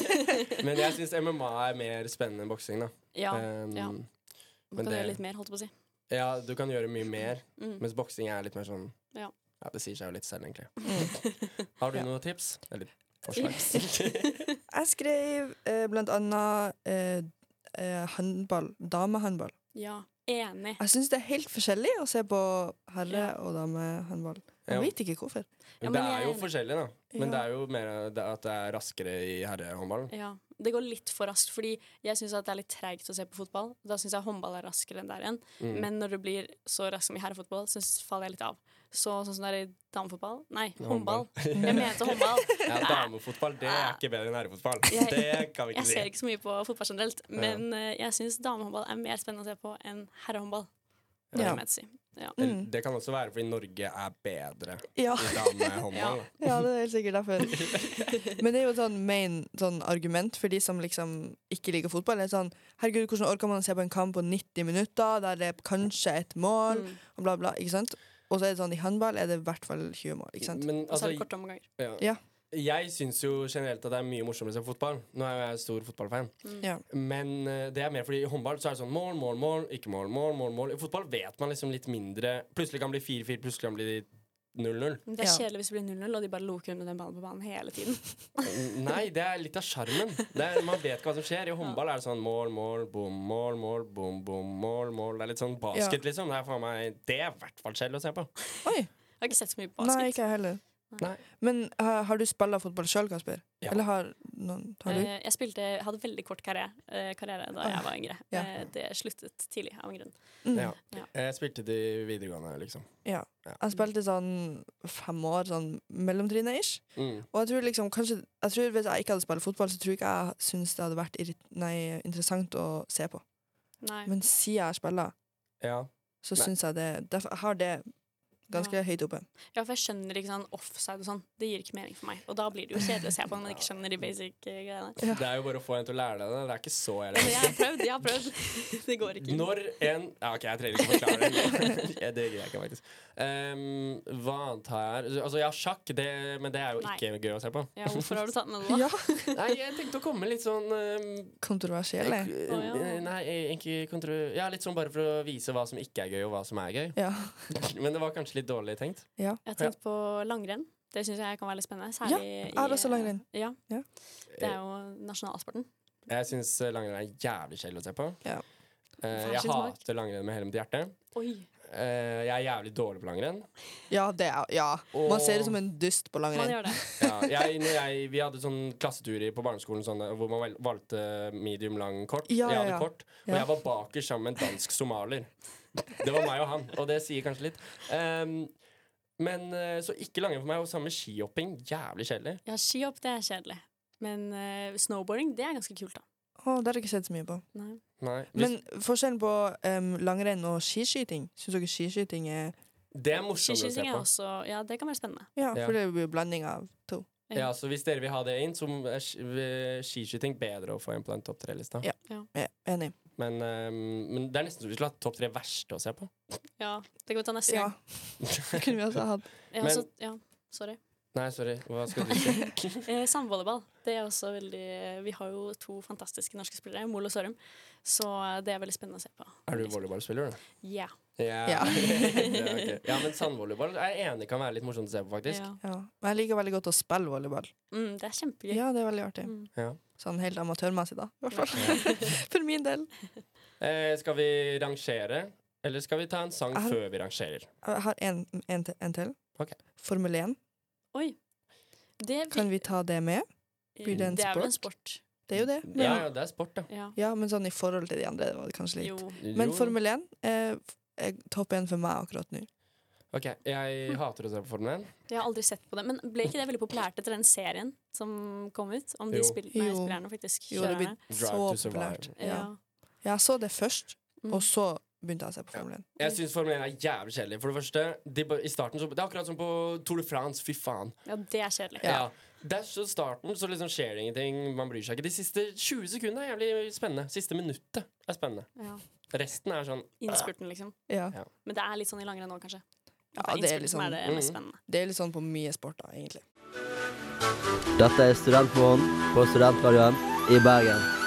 Speaker 6: men jeg syns MMA er mer spennende enn boksing, da.
Speaker 7: Ja,
Speaker 6: Um,
Speaker 7: ja. Man
Speaker 6: men
Speaker 7: kan
Speaker 6: det-
Speaker 7: gjøre litt mer, holdt jeg på å si.
Speaker 6: Ja, du kan gjøre mye mer,
Speaker 7: Mm.
Speaker 6: mens boksing er litt mer sånn
Speaker 7: Ja. Mm.
Speaker 6: Ja, det sier seg jo litt selv, egentlig. Har du noen tips? Eller forslag?
Speaker 4: Jeg skrev eh, blant annet eh, eh, håndball. Damehåndball.
Speaker 7: Ja, enig.
Speaker 4: Jeg syns det er helt forskjellig å se på herre- og damehåndball.
Speaker 6: Ja.
Speaker 4: Jeg vet ikke hvorfor.
Speaker 7: Ja,
Speaker 6: det
Speaker 7: men
Speaker 6: er jo
Speaker 7: jeg-
Speaker 6: forskjellig, da. Men
Speaker 7: Ja.
Speaker 6: det er jo mer det at det er raskere i herrehåndballen.
Speaker 7: Ja, Det går litt for raskt, fordi jeg syns det er litt treigt å se på fotball. Da syns jeg håndball er raskere enn der igjen.
Speaker 6: Mm.
Speaker 7: Men når det blir så raskt som i herrefotball, så faller jeg litt av. Så sånn som det er i damefotball Nei, håndball. Jeg mente håndball.
Speaker 6: Ja, Damefotball det er ikke bedre enn herrefotball.
Speaker 7: Jeg-
Speaker 6: Det kan vi ikke
Speaker 7: Jeg ser ikke
Speaker 6: si.
Speaker 7: så mye på fotball generelt, men eh, jeg syns damehåndball er mer spennende å se på enn herrehåndball. Det
Speaker 6: Ja.
Speaker 7: må jeg si. Ja.
Speaker 6: Eller, Det kan også være fordi Norge er bedre
Speaker 4: Ja.
Speaker 6: i damehåndball. da.
Speaker 4: Ja, det er helt sikkert derfor. Men det er jo et sånn main sånn argument for de som liksom ikke liker fotball. Det er sånn, herregud, Hvordan orker man å se på en kamp på 90 minutter, der det er kanskje et mål, og bla, bla. ikke sant? Og så er det sånn, i håndball er det i hvert fall 20 mål. ikke sant?
Speaker 6: Men,
Speaker 7: Og så er
Speaker 6: altså,
Speaker 7: det korte omganger.
Speaker 6: Ja.
Speaker 4: Ja.
Speaker 6: Jeg syns jo generelt at det er mye morsommere å se fotball. Nå er jo jeg stor fotballfan.
Speaker 7: Mm.
Speaker 4: Ja.
Speaker 6: Men eh, det er mer fordi i håndball så er det sånn mål, mål, mål, ikke mål, mål, mål. mål. I fotball vet man liksom litt mindre. Plutselig kan det bli 4-4, plutselig kan det bli 0-0.
Speaker 7: Men Det er kjedelig hvis det blir 0-0, og de bare loker under den ballen på banen hele tiden.
Speaker 6: Nei, det er litt av sjarmen. Det er- Man vet ikke hva som skjer. I håndball er det sånn mål, mål, bom, mål, mål, bom, bom, mål, mål. Det er litt sånn basket, liksom. Det er faen meg Det er i hvert fall kjedelig å se på.
Speaker 7: Jeg har ikke sett så mye på basket.
Speaker 4: Nei, ikke jeg heller. Men eh, har du spilla fotball sjøl, Kasper? Eller har, noen, har du?
Speaker 7: Eh, Jeg spilte, hadde veldig kort karriere, eh, karriere da
Speaker 4: Ah,
Speaker 7: jeg var yngre.
Speaker 4: ja.
Speaker 7: Eh, Det sluttet tidlig av en grunn.
Speaker 4: Mm.
Speaker 6: Ja.
Speaker 7: Ja.
Speaker 6: Jeg spilte det i videregående, liksom.
Speaker 4: Ja. Jeg spilte sånn fem år, sånn mellomtrinnet-ish.
Speaker 6: Mm.
Speaker 4: Og jeg tror liksom, kanskje, jeg tror hvis jeg ikke hadde spilt fotball, så tror jeg ikke jeg syns det hadde vært irrit nei, interessant å se på.
Speaker 7: Nei.
Speaker 4: Men siden jeg spiller,
Speaker 6: Ja.
Speaker 4: så
Speaker 6: Nei.
Speaker 4: syns jeg det Derfor jeg har det ganske høyt oppe.
Speaker 7: Ja, for jeg skjønner ikke sånn offside og sånn. Det gir ikke mening for meg. Og da blir det jo kjedelig å se på når man ikke skjønner de basic eh, greiene.
Speaker 6: Det er jo bare å få en til å lære deg det. Det er ikke så
Speaker 7: Ja, men
Speaker 6: jævlig.
Speaker 7: jeg har prøvd, jeg har prøvd. Det går ikke.
Speaker 6: Når en Ja, OK, jeg trenger ikke å forklare det. Ja, det greier jeg ikke, faktisk. Ehm, hva annet har jeg her? Altså, jeg har sjakk, det, men det er jo
Speaker 7: Nei.
Speaker 6: ikke gøy å se på.
Speaker 7: Ja, hvorfor har du tatt med det, da?
Speaker 6: Nei, jeg tenkte å komme litt sånn ehm,
Speaker 4: Kontroversiell,
Speaker 6: eh,
Speaker 4: jeg.
Speaker 6: eh, Nei, egentlig kontro... Ja, litt sånn bare for å vise hva som ikke er gøy, og hva som er gøy.
Speaker 4: Ja.
Speaker 6: Men det var kanskje litt dårlig tenkt.
Speaker 4: Ja.
Speaker 7: Jeg har tenkt på langrenn. Det syns jeg kan være litt spennende. Særlig eh,
Speaker 4: jeg har også langrenn.
Speaker 7: Ja.
Speaker 4: Ja.
Speaker 7: Det er jo nasjonalsporten.
Speaker 6: Jeg syns langrenn er jævlig kjedelig å se på.
Speaker 4: Ja.
Speaker 6: Eh,
Speaker 7: Hver
Speaker 6: jeg
Speaker 7: sin smak.
Speaker 6: hater langrenn med hele mitt hjerte.
Speaker 7: Oi.
Speaker 6: Eh, jeg er jævlig dårlig på langrenn.
Speaker 4: Ja, det er, ja. Man ser ut som en dyst på
Speaker 7: Man
Speaker 4: langrenn.
Speaker 7: gjør det.
Speaker 6: ja, jeg, når jeg, vi hadde sånn klassetur i- på barneskolen sånn, der, hvor man vel- valgte medium lang kort.
Speaker 4: Ja,
Speaker 6: jeg
Speaker 4: ja,
Speaker 6: hadde
Speaker 4: ja.
Speaker 6: kort, og
Speaker 4: Ja.
Speaker 6: jeg var baker sammen med en dansk somalier. Det var meg og han, og det sier kanskje litt. Ehm, men eh, så ikke langrenn for meg, og samme skihopping. Jævlig kjedelig.
Speaker 7: Ja, skihopp, det er kjedelig. Men eh, snowboarding, det er ganske kult, da.
Speaker 4: Å, det har jeg ikke sett så mye på.
Speaker 7: Nei.
Speaker 6: Nei, hvis,
Speaker 4: Men forskjellen på em, langrenn og skiskyting Syns dere skiskyting er
Speaker 6: det er morsomt å se
Speaker 7: Skiskyting er
Speaker 6: på.
Speaker 7: også Ja, det kan være spennende.
Speaker 4: Ja,
Speaker 6: Ja.
Speaker 4: for det blir jo blanding av to.
Speaker 6: Ja, så Hvis dere vil ha det inn, så er sk- eh, skiskyting bedre å få inn på den topp tre-lista.
Speaker 4: Ja.
Speaker 7: Ja.
Speaker 4: Jeg er e, enig.
Speaker 6: Men, ehm, men det er nesten så vi skulle hatt topp tre verste å se på.
Speaker 7: Ja, det kan vi ta neste
Speaker 4: Ja.
Speaker 7: gang.
Speaker 4: Det kunne vi også hatt.
Speaker 7: Ja,
Speaker 6: Men-
Speaker 7: så, ja sorry.
Speaker 6: Nei, sorry. Hva skal du si?
Speaker 7: Eh, Samvolleyball. Det er også veldig Vi har jo to fantastiske norske spillere, Mol og Sørum, så eh, det er veldig spennende å se på.
Speaker 6: Er du volleyballspiller, du?
Speaker 7: Ja.
Speaker 6: Ja.
Speaker 4: Ja.
Speaker 6: Det er ok. ja, men sandvolleyball er jeg enig kan være litt morsomt å se på, faktisk.
Speaker 7: Ja.
Speaker 4: Ja. Men jeg liker veldig godt å spille volleyball.
Speaker 7: Mm, det er kjempegøy.
Speaker 4: Ja, det er veldig artig.
Speaker 7: Mm.
Speaker 6: Ja.
Speaker 4: Sånn helt amatørmessig, da. I hvert fall. For min del.
Speaker 6: Eh, skal vi rangere, eller skal vi ta en sang
Speaker 4: Jeg har-
Speaker 6: før vi rangerer?
Speaker 4: Jeg har en, en, til- en til.
Speaker 6: Ok.
Speaker 4: Formel 1.
Speaker 7: Oi. Det
Speaker 4: Kan vi ta det med? Blir det en
Speaker 7: Det er vel en
Speaker 4: sport?
Speaker 7: sport.
Speaker 4: Det er jo det.
Speaker 6: Ja, ja, det er sport, da.
Speaker 7: Ja.
Speaker 4: Ja, men sånn i forhold til de andre var det kanskje litt.
Speaker 7: Jo.
Speaker 4: Men
Speaker 6: Jo.
Speaker 4: Formel 1 er, er topp 1 for meg akkurat nå.
Speaker 6: Ok, jeg hater å se på Formel 1.
Speaker 7: Jeg har aldri sett på det. Men ble ikke det veldig populært etter den serien som kom ut? Om de
Speaker 6: Jo.
Speaker 7: spill, nei,
Speaker 4: Jo.
Speaker 7: spillerne, faktisk.
Speaker 4: Jo, det blir
Speaker 7: kjørerne.
Speaker 6: Drive
Speaker 4: så
Speaker 6: to survive.
Speaker 4: populært. Ja.
Speaker 7: Ja. Mm.
Speaker 4: Jeg så det først, og så begynte jeg å se på Formel 1.
Speaker 6: Jeg syns Formel 1 er jævlig kjedelig. For det første, de, ba- i starten så, Det er akkurat som på Tour de France. Fy faen.
Speaker 7: ja, det er kjedelig.
Speaker 6: Ja. Det er så starten, så liksom skjer det ingenting. Man bryr seg ikke. De siste 20 sekundene er jævlig spennende. Siste minuttet er spennende.
Speaker 7: Ja.
Speaker 6: Resten er sånn
Speaker 7: Innspurten, liksom.
Speaker 4: Ja.
Speaker 7: Men det er litt sånn i langrenn nå, kanskje. At
Speaker 4: Ja, det er
Speaker 7: innspurten
Speaker 4: litt
Speaker 7: som
Speaker 4: sånn,
Speaker 7: er det
Speaker 6: Mm.
Speaker 7: mest spennende.
Speaker 4: det er litt sånn på mye sport, da, egentlig.
Speaker 11: Dette er Studentmorgen på Studentradioen i Bergen.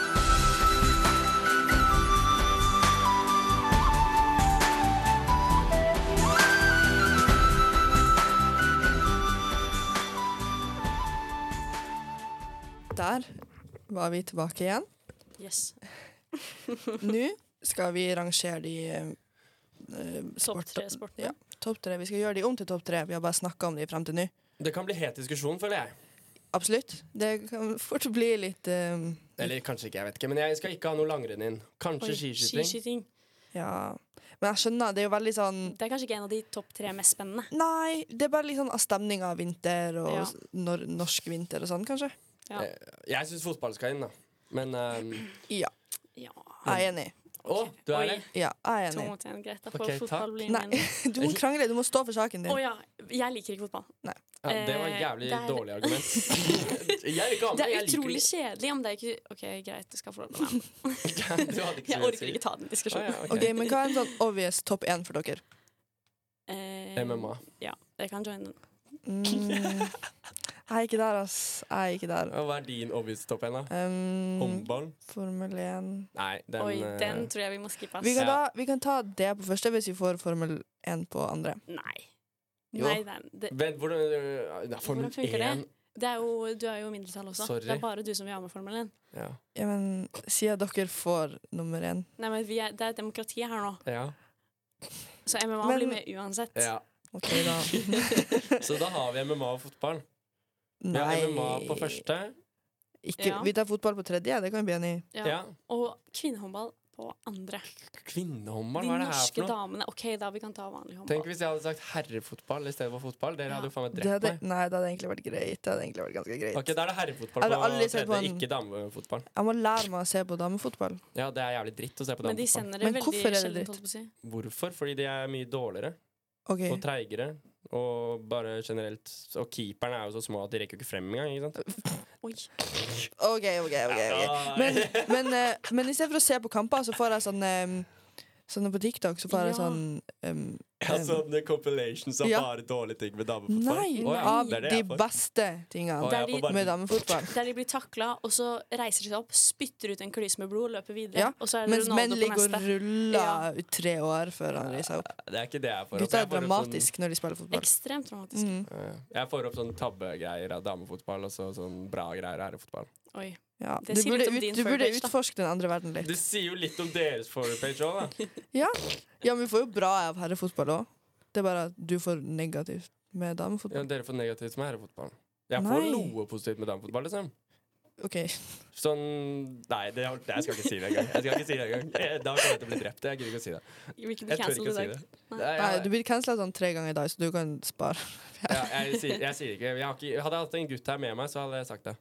Speaker 4: Der var vi tilbake igjen.
Speaker 7: Yes.
Speaker 4: Nå skal vi rangere de eh, sport-
Speaker 7: Topp tre sportene.
Speaker 4: Ja, topp tre. Vi skal gjøre de om til topp tre. Vi har bare snakka om de frem til nå.
Speaker 6: Det kan bli het diskusjon, føler jeg.
Speaker 4: Absolutt. Det kan fort bli litt eh,
Speaker 6: Eller kanskje ikke, jeg vet ikke. Men jeg skal ikke ha noe langrenn inn. Kanskje
Speaker 7: Oi,
Speaker 6: skiskyting.
Speaker 7: skiskyting.
Speaker 4: Ja. Men jeg skjønner, det er jo veldig sånn
Speaker 7: Det er kanskje ikke en av de topp tre mest spennende.
Speaker 4: Nei, det er bare litt sånn av stemning av vinter og
Speaker 7: Ja.
Speaker 4: s- nor norsk vinter og sånn, kanskje.
Speaker 7: Ja.
Speaker 6: Eh, Jeg syns fotball skal inn, da. Men um,
Speaker 4: Ja. Jeg er enig.
Speaker 6: Å, du er
Speaker 4: Oi.
Speaker 6: det?
Speaker 4: Ja, jeg er
Speaker 7: To
Speaker 4: enig.
Speaker 7: mot en, greit. Da får fotball bli
Speaker 4: Nei, du må krangle. Du må stå for saken din.
Speaker 7: Å ja. Jeg liker ikke fotball.
Speaker 6: Ja, det var et
Speaker 7: Eh,
Speaker 6: jævlig
Speaker 7: det er-
Speaker 6: dårlig argument. Jeg vil ikke ha med
Speaker 7: Det er
Speaker 6: jeg liker
Speaker 7: utrolig
Speaker 6: det
Speaker 7: kjedelig om det er ikke OK, greit, du skal få lov til å være med.
Speaker 6: ikke. Du hadde ikke så
Speaker 7: Jeg
Speaker 6: mye å
Speaker 7: orker
Speaker 6: si.
Speaker 7: ikke ta den diskusjonen.
Speaker 4: ok, Men hva er en sånn obvious topp én for dere?
Speaker 7: Eh,
Speaker 6: MMA.
Speaker 7: Ja, jeg kan joine den.
Speaker 4: Mm, jeg er ikke der, ass. Jeg er ikke der.
Speaker 6: Ja, Hva er din obvious topp én, da?
Speaker 4: Um,
Speaker 6: Håndball?
Speaker 4: Formel 1
Speaker 6: Nei, den
Speaker 7: Mm. Oi,
Speaker 6: eh,
Speaker 7: den tror jeg vi må skippe. ass.
Speaker 4: vi kan, da, vi kan ta det på første hvis vi får Formel 1 på andre.
Speaker 7: Nei.
Speaker 4: Jo.
Speaker 7: Nei, nei, det,
Speaker 6: Vent, hvordan eh, det er Formel
Speaker 7: hvordan funker det?
Speaker 6: 1.
Speaker 7: det er jo, du er jo i mindretall også.
Speaker 4: Sorry.
Speaker 7: Det er bare du som vil ha med Formel 1.
Speaker 6: Ja.
Speaker 4: Ja, men sier dere får nummer én.
Speaker 7: Nei, men vi er, det er et demokrati her nå,
Speaker 6: Ja.
Speaker 7: så MMA
Speaker 4: Men-
Speaker 7: blir med uansett.
Speaker 6: ja.
Speaker 4: Ok, da.
Speaker 6: Så da har vi MMA og fotball. Vi
Speaker 4: Nei.
Speaker 6: har MMA på første.
Speaker 4: Ikke,
Speaker 7: Ja.
Speaker 4: Vi tar fotball på tredje, det kan vi bli enig i.
Speaker 7: Ja. Og kvinnehåndball på andre.
Speaker 6: Kvinnehåndball,
Speaker 7: De
Speaker 6: hva er det her
Speaker 7: norske
Speaker 6: for noe?
Speaker 7: damene. OK, da vi kan ta vanlig håndball.
Speaker 6: Tenk hvis jeg hadde sagt herrefotball i stedet for fotball. Dere hadde jo faen meg
Speaker 4: Det
Speaker 6: drept
Speaker 4: hadde,
Speaker 6: meg.
Speaker 4: nei, det hadde egentlig vært greit. Det hadde egentlig vært ganske greit.
Speaker 6: Ok, Da er det herrefotball
Speaker 4: Jeg
Speaker 6: på
Speaker 4: hadde aldri sett på
Speaker 6: tredje,
Speaker 4: en-
Speaker 6: ikke damefotball.
Speaker 4: Jeg må lære meg å se på damefotball.
Speaker 6: Ja, det er jævlig dritt å se på
Speaker 7: Men de
Speaker 6: damefotball.
Speaker 7: sender det
Speaker 4: Men hvorfor er det
Speaker 7: veldig sjelden,
Speaker 4: dritt?
Speaker 7: holdt jeg på å si.
Speaker 6: Hvorfor? Fordi de er mye dårligere
Speaker 4: Ok.
Speaker 6: og treigere. Og bare generelt Og keeperne er jo så små at de rekker jo ikke frem engang. ikke sant?
Speaker 4: OK, OK. ok, ok. Men, men, eh, men i stedet for å se på kamper, så får jeg sånn em, Sånne på TikTok, så får jeg
Speaker 6: Ja.
Speaker 4: sånn em,
Speaker 6: Ja, sånne Altså, compilations av
Speaker 4: Ja.
Speaker 6: bare dårlige ting med damefotball.
Speaker 4: Nei!
Speaker 6: Å ja,
Speaker 4: Av
Speaker 6: det er det
Speaker 4: de
Speaker 6: jeg får.
Speaker 4: beste
Speaker 6: Å,
Speaker 4: tingene
Speaker 6: jeg får bare-
Speaker 4: med damefotball.
Speaker 7: Der de blir takla, og så reiser de seg opp, spytter ut en klyse med blod, løper videre.
Speaker 4: Ja,
Speaker 7: og så er det
Speaker 4: mens menn
Speaker 7: Ronaldo på
Speaker 4: ligger og
Speaker 7: neste.
Speaker 4: ruller i tre år før han reiser seg opp.
Speaker 6: Det er ikke det jeg får opp.
Speaker 4: Gutta
Speaker 6: Jeg sånn
Speaker 4: er
Speaker 6: får opp
Speaker 4: dramatiske når de spiller fotball.
Speaker 7: Ekstremt dramatisk.
Speaker 4: Mm.
Speaker 6: Sånn, jeg får opp sånn tabbegreier av damefotball og så sånn bra greier av herrefotball.
Speaker 4: Mm.
Speaker 7: Oi.
Speaker 4: Ja.
Speaker 7: Det
Speaker 4: Du
Speaker 7: sier
Speaker 4: burde,
Speaker 7: litt om
Speaker 4: ut,
Speaker 7: din
Speaker 4: du burde
Speaker 7: forberedelse, da.
Speaker 4: utforske den andre verden litt.
Speaker 6: Det sier jo litt om deres forepage òg, da.
Speaker 4: Ja. ja, men vi får jo bra av herrefotball òg. Det er bare at du får negativt med
Speaker 6: Ja,
Speaker 4: damefotball.
Speaker 6: dere får negativt med herrefotball. Jeg får
Speaker 4: Nei.
Speaker 6: noe positivt med damefotball, liksom.
Speaker 4: OK.
Speaker 6: Sånn Nei, det, jeg skal ikke si det engang. Jeg skal ikke si det engang. Eh, Da kommer jeg til å bli drept. Jeg gidder ikke å si det.
Speaker 7: Vi kan bli
Speaker 6: Jeg tør
Speaker 7: cancelled
Speaker 6: ikke å
Speaker 7: i
Speaker 6: si
Speaker 7: dag.
Speaker 6: det. Nei,
Speaker 4: Nei,
Speaker 6: jeg-
Speaker 4: du blir cancela sånn tre ganger i dag, så du kan spare.
Speaker 6: Ja, jeg, sier, jeg sier ikke. Jeg har ikke Hadde jeg hatt en gutt her med meg, så hadde jeg sagt det.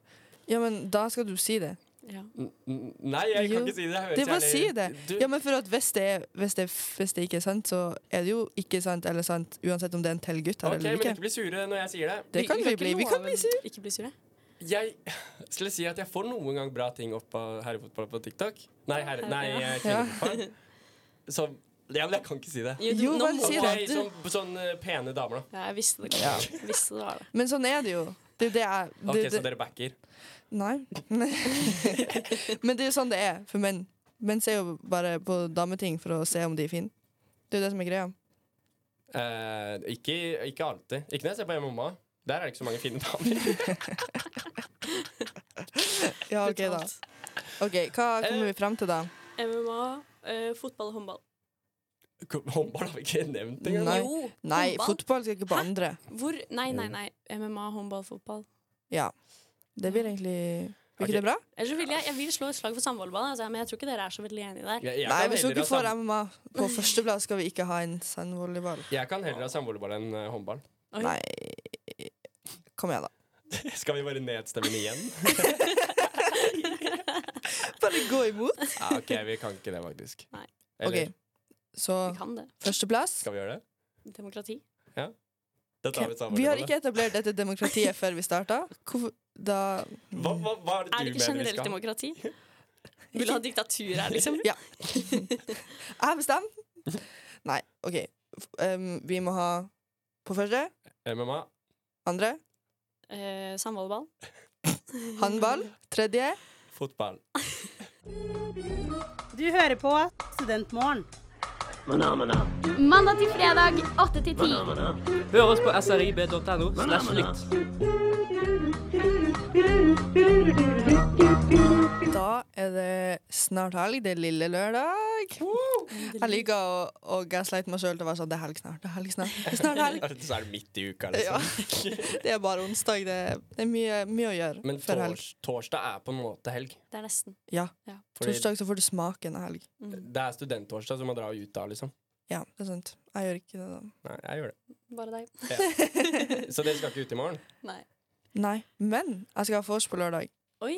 Speaker 4: Ja, men da skal du si det.
Speaker 6: N- n- Nei, jeg kan
Speaker 4: Jo.
Speaker 6: ikke si det. Jeg høres
Speaker 4: Det er bare å si
Speaker 6: jævlig-
Speaker 4: det.
Speaker 6: Du-
Speaker 4: Ja, men for at hvis det, er, hvis, det, er- hvis det ikke er sant, så er det jo ikke sant eller sant, uansett om det er en til gutt her
Speaker 6: OK, men
Speaker 4: eller
Speaker 6: ikke
Speaker 4: ikke.
Speaker 6: bli sure når jeg sier det.
Speaker 4: Det kan vi bli. Vi kan bli sure.
Speaker 7: Ikke bli sure.
Speaker 6: Jeg skulle si at jeg får noen gang bra ting opp av herrefotball på TikTok. Nei, herre, nei eh,
Speaker 4: Ja.
Speaker 6: kvinnefotball. Så Ja, men jeg kan ikke si det.
Speaker 4: Jo, du- Jo, nå vel, må si
Speaker 6: Ok,
Speaker 4: det.
Speaker 6: Sånn, sånn eh, pene damer, da.
Speaker 7: Ja, jeg visste det.
Speaker 6: Ja.
Speaker 7: Jeg visste det var det.
Speaker 4: Men sånn er det jo. Det er det jeg det,
Speaker 6: OK,
Speaker 4: det,
Speaker 6: så dere backer.
Speaker 4: Nei. Men det er jo sånn det er for menn. Menn ser jo bare på dameting for å se om de er fine. Det er jo det som er greia.
Speaker 6: Eh, ikke, ikke alltid. Ikke når jeg ser på mamma. Der er det ikke så mange fine damer.
Speaker 4: Ja, OK, da. Ok, Hva kommer vi frem til, da?
Speaker 7: MMA, eh, fotball og håndball.
Speaker 6: Håndball har vi ikke nevnt engang.
Speaker 4: Nei,
Speaker 7: Jo,
Speaker 4: nei
Speaker 7: håndball.
Speaker 4: fotball skal ikke på andre.
Speaker 7: Hvor Nei, nei, nei. MMA, håndball, fotball.
Speaker 4: Ja. Det blir egentlig Blir ikke det bra?
Speaker 7: Ellers så vil jeg, jeg vil slå et slag for samvolleyball, altså, men jeg tror ikke dere er så veldig enige der.
Speaker 6: Jeg- jeg
Speaker 4: Nei,
Speaker 6: kan
Speaker 4: hvis
Speaker 6: heller
Speaker 4: dere
Speaker 6: ha
Speaker 4: får
Speaker 6: sam-
Speaker 4: MMA på førsteplass, skal vi ikke ha en sandvolleyball.
Speaker 6: Jeg kan heller ha samvolleyball enn eh, håndball.
Speaker 4: Nei Kom igjen, da.
Speaker 6: Skal vi bare nedstemme den igjen?
Speaker 4: Bare gå imot.
Speaker 6: ja, OK, vi kan ikke det, faktisk.
Speaker 7: Nei.
Speaker 6: Eller
Speaker 4: OK, så
Speaker 7: kan det.
Speaker 4: førsteplass
Speaker 6: skal vi gjøre det?
Speaker 7: Demokrati.
Speaker 6: Ja? Da tar vi
Speaker 4: Vi har
Speaker 6: samvolleyball.
Speaker 4: ikke etablert dette demokratiet før vi starta. Hvorfor da
Speaker 6: Hva, hva, hva er det
Speaker 7: Er
Speaker 6: du
Speaker 7: det
Speaker 6: mener
Speaker 7: ikke
Speaker 6: vi
Speaker 7: generelt
Speaker 6: skal ha?
Speaker 7: demokrati? Vil du ha diktatur her, liksom?
Speaker 4: ja. Jeg bestemmer. Nei, OK. F- em, vi må ha på første,
Speaker 6: MMA.
Speaker 4: andre,
Speaker 7: Eh, Samvolleyball.
Speaker 4: håndball, tredje
Speaker 6: Fotball.
Speaker 9: Du hører på Studentmorgen.
Speaker 10: Mandag til fredag 8 til 10.
Speaker 5: Hør oss på srib.no slash lytt.
Speaker 4: Da er det snart helg. Det er lille lørdag. Jeg liker å, å gaslighte meg sjøl til å være sånn Det er helg snart. Det er helg snart. Det er snart helg.
Speaker 6: Så er det midt i uka,
Speaker 4: Ja.
Speaker 6: liksom.
Speaker 4: Det er bare onsdag. Det er, det er mye, mye å gjøre
Speaker 6: Men
Speaker 4: før helg.
Speaker 6: tors, torsdag er på en måte helg.
Speaker 7: Det er nesten.
Speaker 4: Ja.
Speaker 7: Ja.
Speaker 6: Fordi-
Speaker 4: Torsdag så får du smaken av helg.
Speaker 6: Det er studenttorsdag, så man drar ut da, liksom.
Speaker 4: Ja, det er sant. Jeg gjør ikke det, da.
Speaker 6: Nei, jeg gjør det.
Speaker 7: Bare deg.
Speaker 6: Ja. Så dere skal ikke ut i morgen?
Speaker 7: Nei.
Speaker 4: Nei. Men jeg skal ha vors på lørdag,
Speaker 7: Oi,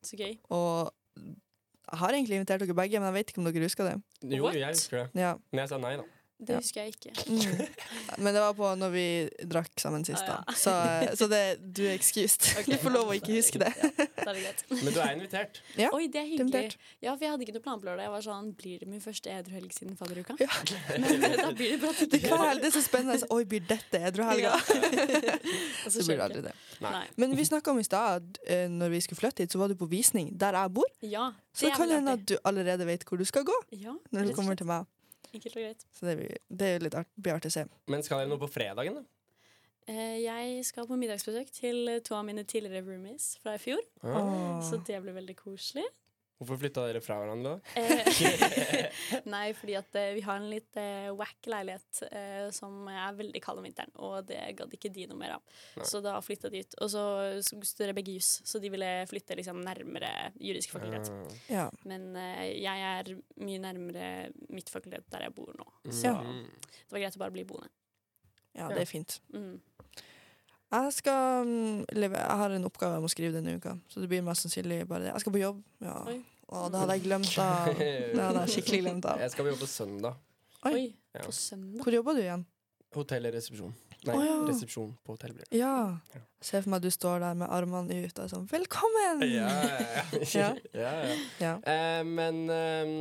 Speaker 7: så gøy.
Speaker 4: og jeg har egentlig invitert dere begge, men jeg vet ikke om dere husker det.
Speaker 6: Jo, jeg husker det.
Speaker 4: Ja.
Speaker 6: Men jeg sa nei, da.
Speaker 7: Det husker jeg ikke.
Speaker 4: Mm. Men det var på når vi drakk sammen sist, da.
Speaker 7: Ah, ja.
Speaker 4: Så, så det, du er excused. Du får lov å ikke huske det.
Speaker 7: Da er det greit.
Speaker 6: Men du er invitert.
Speaker 4: Ja,
Speaker 7: Oi, det er hyggelig. Ja, for jeg hadde ikke noe plan på lørdag. Jeg var sånn Blir det min første edru helg siden fadderuka? Men eh, da blir det bra
Speaker 4: Det, er hver helg, det er så spennende. Så, Oi, blir dette edruhelga?
Speaker 7: Og
Speaker 4: Så blir det
Speaker 7: skjer
Speaker 4: aldri det.
Speaker 7: Nei.
Speaker 4: Men vi snakka om i stad, eh, når vi skulle flytte hit, så var du på visning der jeg bor.
Speaker 7: Ja,
Speaker 4: Så det
Speaker 7: er
Speaker 4: kan
Speaker 7: vel
Speaker 4: hende
Speaker 7: artig.
Speaker 4: at du allerede vet hvor du skal gå
Speaker 7: Ja,
Speaker 4: når
Speaker 7: rett
Speaker 4: du
Speaker 7: og
Speaker 4: kommer
Speaker 7: slett.
Speaker 4: til meg.
Speaker 7: Enkelt og greit.
Speaker 4: Så det blir, det er jo litt art, blir artig å se.
Speaker 6: Men skal dere noe på fredagen, da?
Speaker 7: Eh, Jeg skal på middagsbesøk til eh, to av mine tidligere roomies fra i fjor.
Speaker 6: Ah.
Speaker 7: Så det blir veldig koselig.
Speaker 6: Hvorfor flytta dere fra hverandre, da?
Speaker 7: Eh, Nei, fordi at eh, vi har en litt eh, wack leilighet eh, som er veldig kald om vinteren, og det gadd ikke de noe mer av.
Speaker 6: Nei.
Speaker 7: Så da flytta de ut. Og så studerer begge juss, så de ville flytte liksom nærmere juridisk fakultet.
Speaker 6: Ah.
Speaker 4: Ja.
Speaker 7: Men eh, jeg er mye nærmere mitt fakultet der jeg bor nå, så
Speaker 4: Ja.
Speaker 6: mm.
Speaker 7: det var greit å bare bli boende.
Speaker 4: Ja, det er fint.
Speaker 7: Mm.
Speaker 4: Jeg skal mm, leve, Jeg har en oppgave jeg må skrive denne uka, så det blir mest sannsynlig bare det. Jeg skal på jobb. Ja. Å, det hadde jeg glemt av. Det hadde jeg skikkelig glemt av.
Speaker 6: Jeg skal jobbe på søndag.
Speaker 4: Oi.
Speaker 6: Ja.
Speaker 7: På søndag?
Speaker 4: Hvor jobber du igjen?
Speaker 6: Hotellresepsjon. Nei,
Speaker 4: Å, ja.
Speaker 6: resepsjon på hotell blir det.
Speaker 4: Ja. Se for meg at du står der med armene ut og er sånn Velkommen!
Speaker 6: Ja, ja, ja.
Speaker 4: Ja.
Speaker 6: ja, ja.
Speaker 4: Ja.
Speaker 6: Eh, men ehm,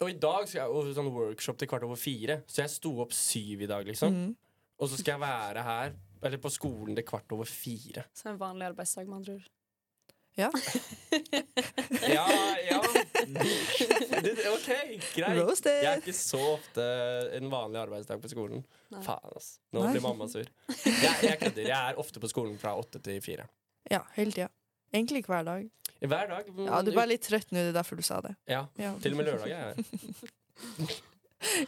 Speaker 6: Og i dag skal jeg over sånn workshop til kvart over fire, så jeg sto opp syv i dag, liksom.
Speaker 4: Mhm.
Speaker 6: Og så skal jeg være her, eller på skolen til kvart over fire.
Speaker 7: Så en vanlig arbeidsdag, med andre ord.
Speaker 4: Ja.
Speaker 6: Ja, ja. Det, OK, greit.
Speaker 4: Roasted.
Speaker 6: Jeg er ikke så ofte en vanlig arbeidsdag på skolen.
Speaker 4: Nei.
Speaker 6: Faen, ass. Nå
Speaker 4: Nei.
Speaker 6: blir mamma sur. Jeg, jeg kødder. Jeg er ofte på skolen fra åtte til fire.
Speaker 4: ja hele tida. Egentlig hver dag.
Speaker 6: Hver dag. men-
Speaker 4: Ja, du er bare litt trøtt nå, det er derfor du sa det.
Speaker 6: Ja.
Speaker 4: Ja.
Speaker 6: Mm, Til og med lørdag er jeg her.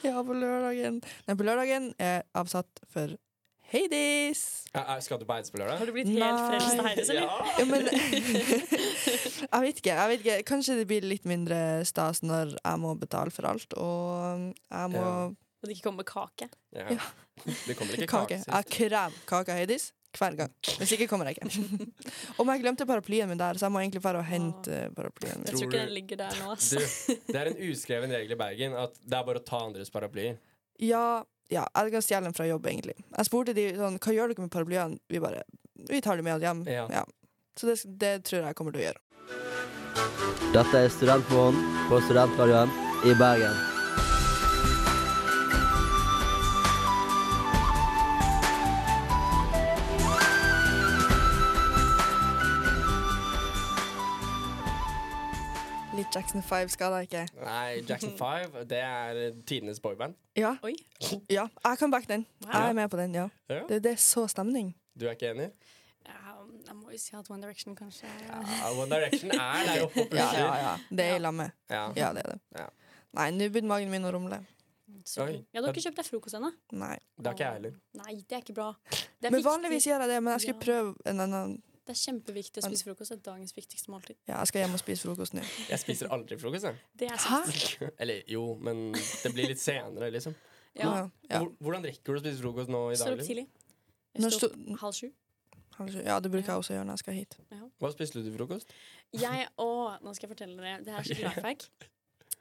Speaker 4: Ja, på lørdagen. Nei, på lørdagen er jeg avsatt for Hades.
Speaker 6: Ja, er- Skal du på Eidsvoll lørdag?
Speaker 7: Har du blitt helt
Speaker 4: Nei.
Speaker 7: frelst av Heides, eller?
Speaker 6: Ja.
Speaker 4: Ja, men Jeg vet ikke. jeg vet ikke Kanskje det blir litt mindre stas når jeg må betale for alt, og um, jeg må
Speaker 6: Ja.
Speaker 7: Og det ikke kommer kake.
Speaker 6: Ja. Det kommer ikke
Speaker 4: Kake.
Speaker 6: kake. sist.
Speaker 4: Jeg krever kake av Heidis hver gang. Hvis ikke kommer jeg ikke. Om jeg glemte paraplyen min der, så jeg må egentlig bare hente eh, paraplyen
Speaker 7: Jeg tror
Speaker 4: min.
Speaker 7: ikke den ligger der nå, altså. ass.
Speaker 6: Du, det er en uskreven regel i Bergen at det er bare å ta andres paraplyer.
Speaker 4: Ja, ja, jeg kan stjele den fra jobb, egentlig. Jeg spurte de sånn Hva gjør dere med paraplyene? Vi bare Vi tar dem med oss hjem.
Speaker 6: Ja.
Speaker 4: Så det, det tror jeg kommer til å gjøre.
Speaker 11: Dette er Studentmorgen på Studentradioen i Bergen.
Speaker 4: Litt Jackson 5 skal jeg ikke.
Speaker 6: Nei, Jackson 5, det er tidenes boyband.
Speaker 4: Ja. ja. Jeg kan backe den. Jeg er med på den, ja.
Speaker 6: Ja.
Speaker 4: Det, det er så stemning.
Speaker 6: Du er ikke enig?
Speaker 7: Ja, jeg må jo si at One Direction kanskje
Speaker 6: Ja, One Direction er der oppe og
Speaker 4: Ja,
Speaker 6: pusher.
Speaker 4: ja, ja. Det er i lammet.
Speaker 6: Ja.
Speaker 4: Ja, det er det. Nei, nå begynner magen min å rumle.
Speaker 7: Så god. Ja, du har ikke kjøpt deg frokost ennå?
Speaker 4: Nei.
Speaker 6: Det har ikke jeg heller.
Speaker 7: Nei, det er ikke bra. Det er,
Speaker 4: Men
Speaker 7: viktig.
Speaker 4: vanligvis gjør jeg det, men jeg skal prøve en annen
Speaker 7: det er kjempeviktig å spise frokost. Det er dagens viktigste måltid.
Speaker 4: Ja, jeg skal hjem og spise frokost nå.
Speaker 6: Jeg spiser aldri frokost, jeg.
Speaker 7: Det er sant.
Speaker 6: Eller jo, men det blir litt senere, liksom.
Speaker 7: Ja.
Speaker 6: Hvor- Hvordan rekker du å spise frokost nå i dag? liksom?
Speaker 7: Står opp
Speaker 6: Liv?
Speaker 7: tidlig.
Speaker 4: Når
Speaker 7: Jeg står opp halv sju.
Speaker 4: Kanskje- Ja, det bruker jeg også å gjøre når jeg skal hit.
Speaker 6: Hva spiste du til frokost?
Speaker 7: Jeg og Nå skal jeg fortelle dere. Det her er skikkelig life hack.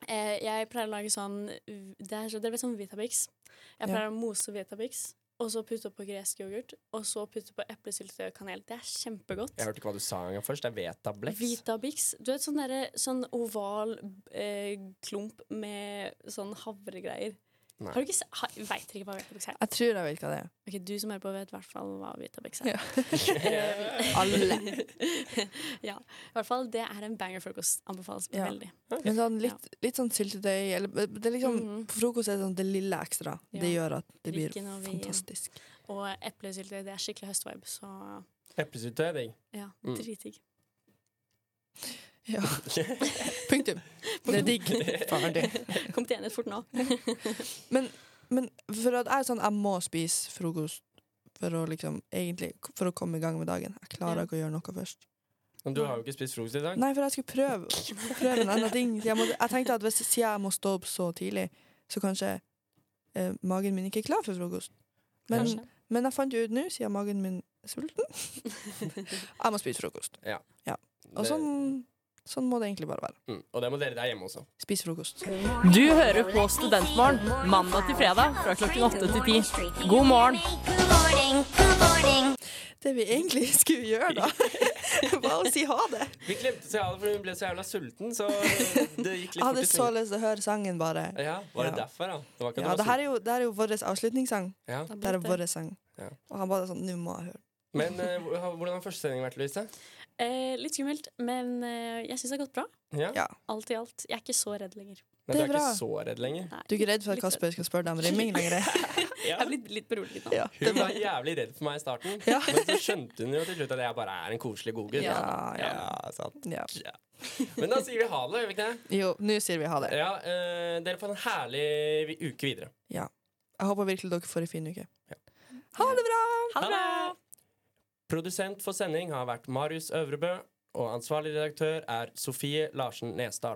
Speaker 7: Eh, jeg pleier å lage sånn Det er, så, dere vet sånn Vitabix. Jeg
Speaker 4: Ja.
Speaker 7: pleier å mose Vitabix. og så putte oppå gresk yoghurt, og så putte på eplesylte og kanel. Det er kjempegodt.
Speaker 6: Jeg hørte ikke hva du sa engang først. Det er Vetablex.
Speaker 7: Vitabix. Du vet sånn derre sånn oval eh, klump med sånn havregreier.
Speaker 4: Nei.
Speaker 7: Har du ikke se- ha, Veit dere ikke hva Vitabix er?
Speaker 4: Jeg tror jeg vet hva det er.
Speaker 7: Ok, Du som hører på, vet i hvert fall hva Vitabix er.
Speaker 4: Ja. Alle.
Speaker 7: ja. I hvert fall, det er en bangerfrokost. Anbefales
Speaker 4: Ja.
Speaker 7: veldig.
Speaker 4: Men sånn litt, litt sånn syltetøy eller det er liksom,
Speaker 7: Mhm.
Speaker 4: På frokost er det sånn det lille ekstra. Det
Speaker 7: Ja.
Speaker 4: gjør at det blir
Speaker 7: Drikken og vin.
Speaker 4: fantastisk.
Speaker 7: Og eplesyltetøy, det er skikkelig høstvibe, så
Speaker 6: Eplesyltetøy er digg.
Speaker 7: ja,
Speaker 6: Mm.
Speaker 7: dritdigg.
Speaker 4: Ja. Punktum. Det er digg. Ferdig.
Speaker 7: Kom til enighet fort nå.
Speaker 4: Men, men for at jeg er sånn Jeg må spise frokost for å liksom Egentlig for å komme i gang med dagen. Jeg klarer ikke å gjøre noe først.
Speaker 6: Men du har jo ikke spist frokost i dag.
Speaker 4: Nei, for jeg skulle prøve, prøve en annen ting. Så Jeg, måtte, jeg tenkte at hvis siden jeg må stå opp så tidlig, så kanskje eh, magen min ikke er klar for frokost. Men,
Speaker 6: Kanskje.
Speaker 4: men jeg fant jo ut nå, siden magen min er sulten Jeg må spise frokost.
Speaker 6: Ja.
Speaker 4: Ja. Og
Speaker 6: Det-
Speaker 4: sånn, sånn må det egentlig bare være.
Speaker 6: Mm. Og det må dere der hjemme også.
Speaker 4: Spis frokost.
Speaker 16: Du hører på Studentmorgen mandag til fredag fra klokken 8 til 10. God morgen!
Speaker 4: Det vi egentlig skulle gjøre, da, var å si ha det.
Speaker 6: Vi glemte å si ha det, for hun ble så jævla sulten, så det gikk liksom
Speaker 4: Jeg
Speaker 6: litt
Speaker 4: hadde
Speaker 6: fort i
Speaker 4: så
Speaker 6: svingen.
Speaker 4: lyst til å høre sangen, bare.
Speaker 6: Ja, var det
Speaker 4: Ja.
Speaker 6: derfor, da? Det var ikke at
Speaker 4: Ja,
Speaker 6: du
Speaker 4: det
Speaker 6: var
Speaker 4: her er jo, det her er jo vår avslutningssang.
Speaker 6: Ja.
Speaker 4: Det her er vår sang.
Speaker 6: Ja.
Speaker 4: Og han bare sånn Nå må jeg høre.
Speaker 6: sulten. Men eh, hvor- hvordan har første sending vært, Louise?
Speaker 7: Eh, litt skummelt, men eh, jeg syns det har gått bra.
Speaker 6: Ja?
Speaker 7: Alt i alt. Jeg er ikke så redd lenger.
Speaker 6: Men du er ikke så redd lenger?
Speaker 4: Du er ikke redd for at Kasper skal spørre deg om rimming lenger?
Speaker 7: Jeg er blitt litt beroliget nå.
Speaker 6: Hun var jævlig redd for meg i starten, men så skjønte hun jo til slutt at jeg bare er en koselig godgutt.
Speaker 4: Ja, ja.
Speaker 6: sant.
Speaker 4: Ja.
Speaker 6: Men da sier vi ha det, gjør vi ikke det?
Speaker 4: Jo, nå sier vi ha det.
Speaker 6: Ja, eh, dere får en herlig vi- uke videre.
Speaker 4: Ja. Jeg håper virkelig dere får ei en fin uke. Ha det bra!
Speaker 6: Ha det! Produsent for sending har vært Marius Øvrebø, og ansvarlig redaktør er Sofie Larsen Nesdal.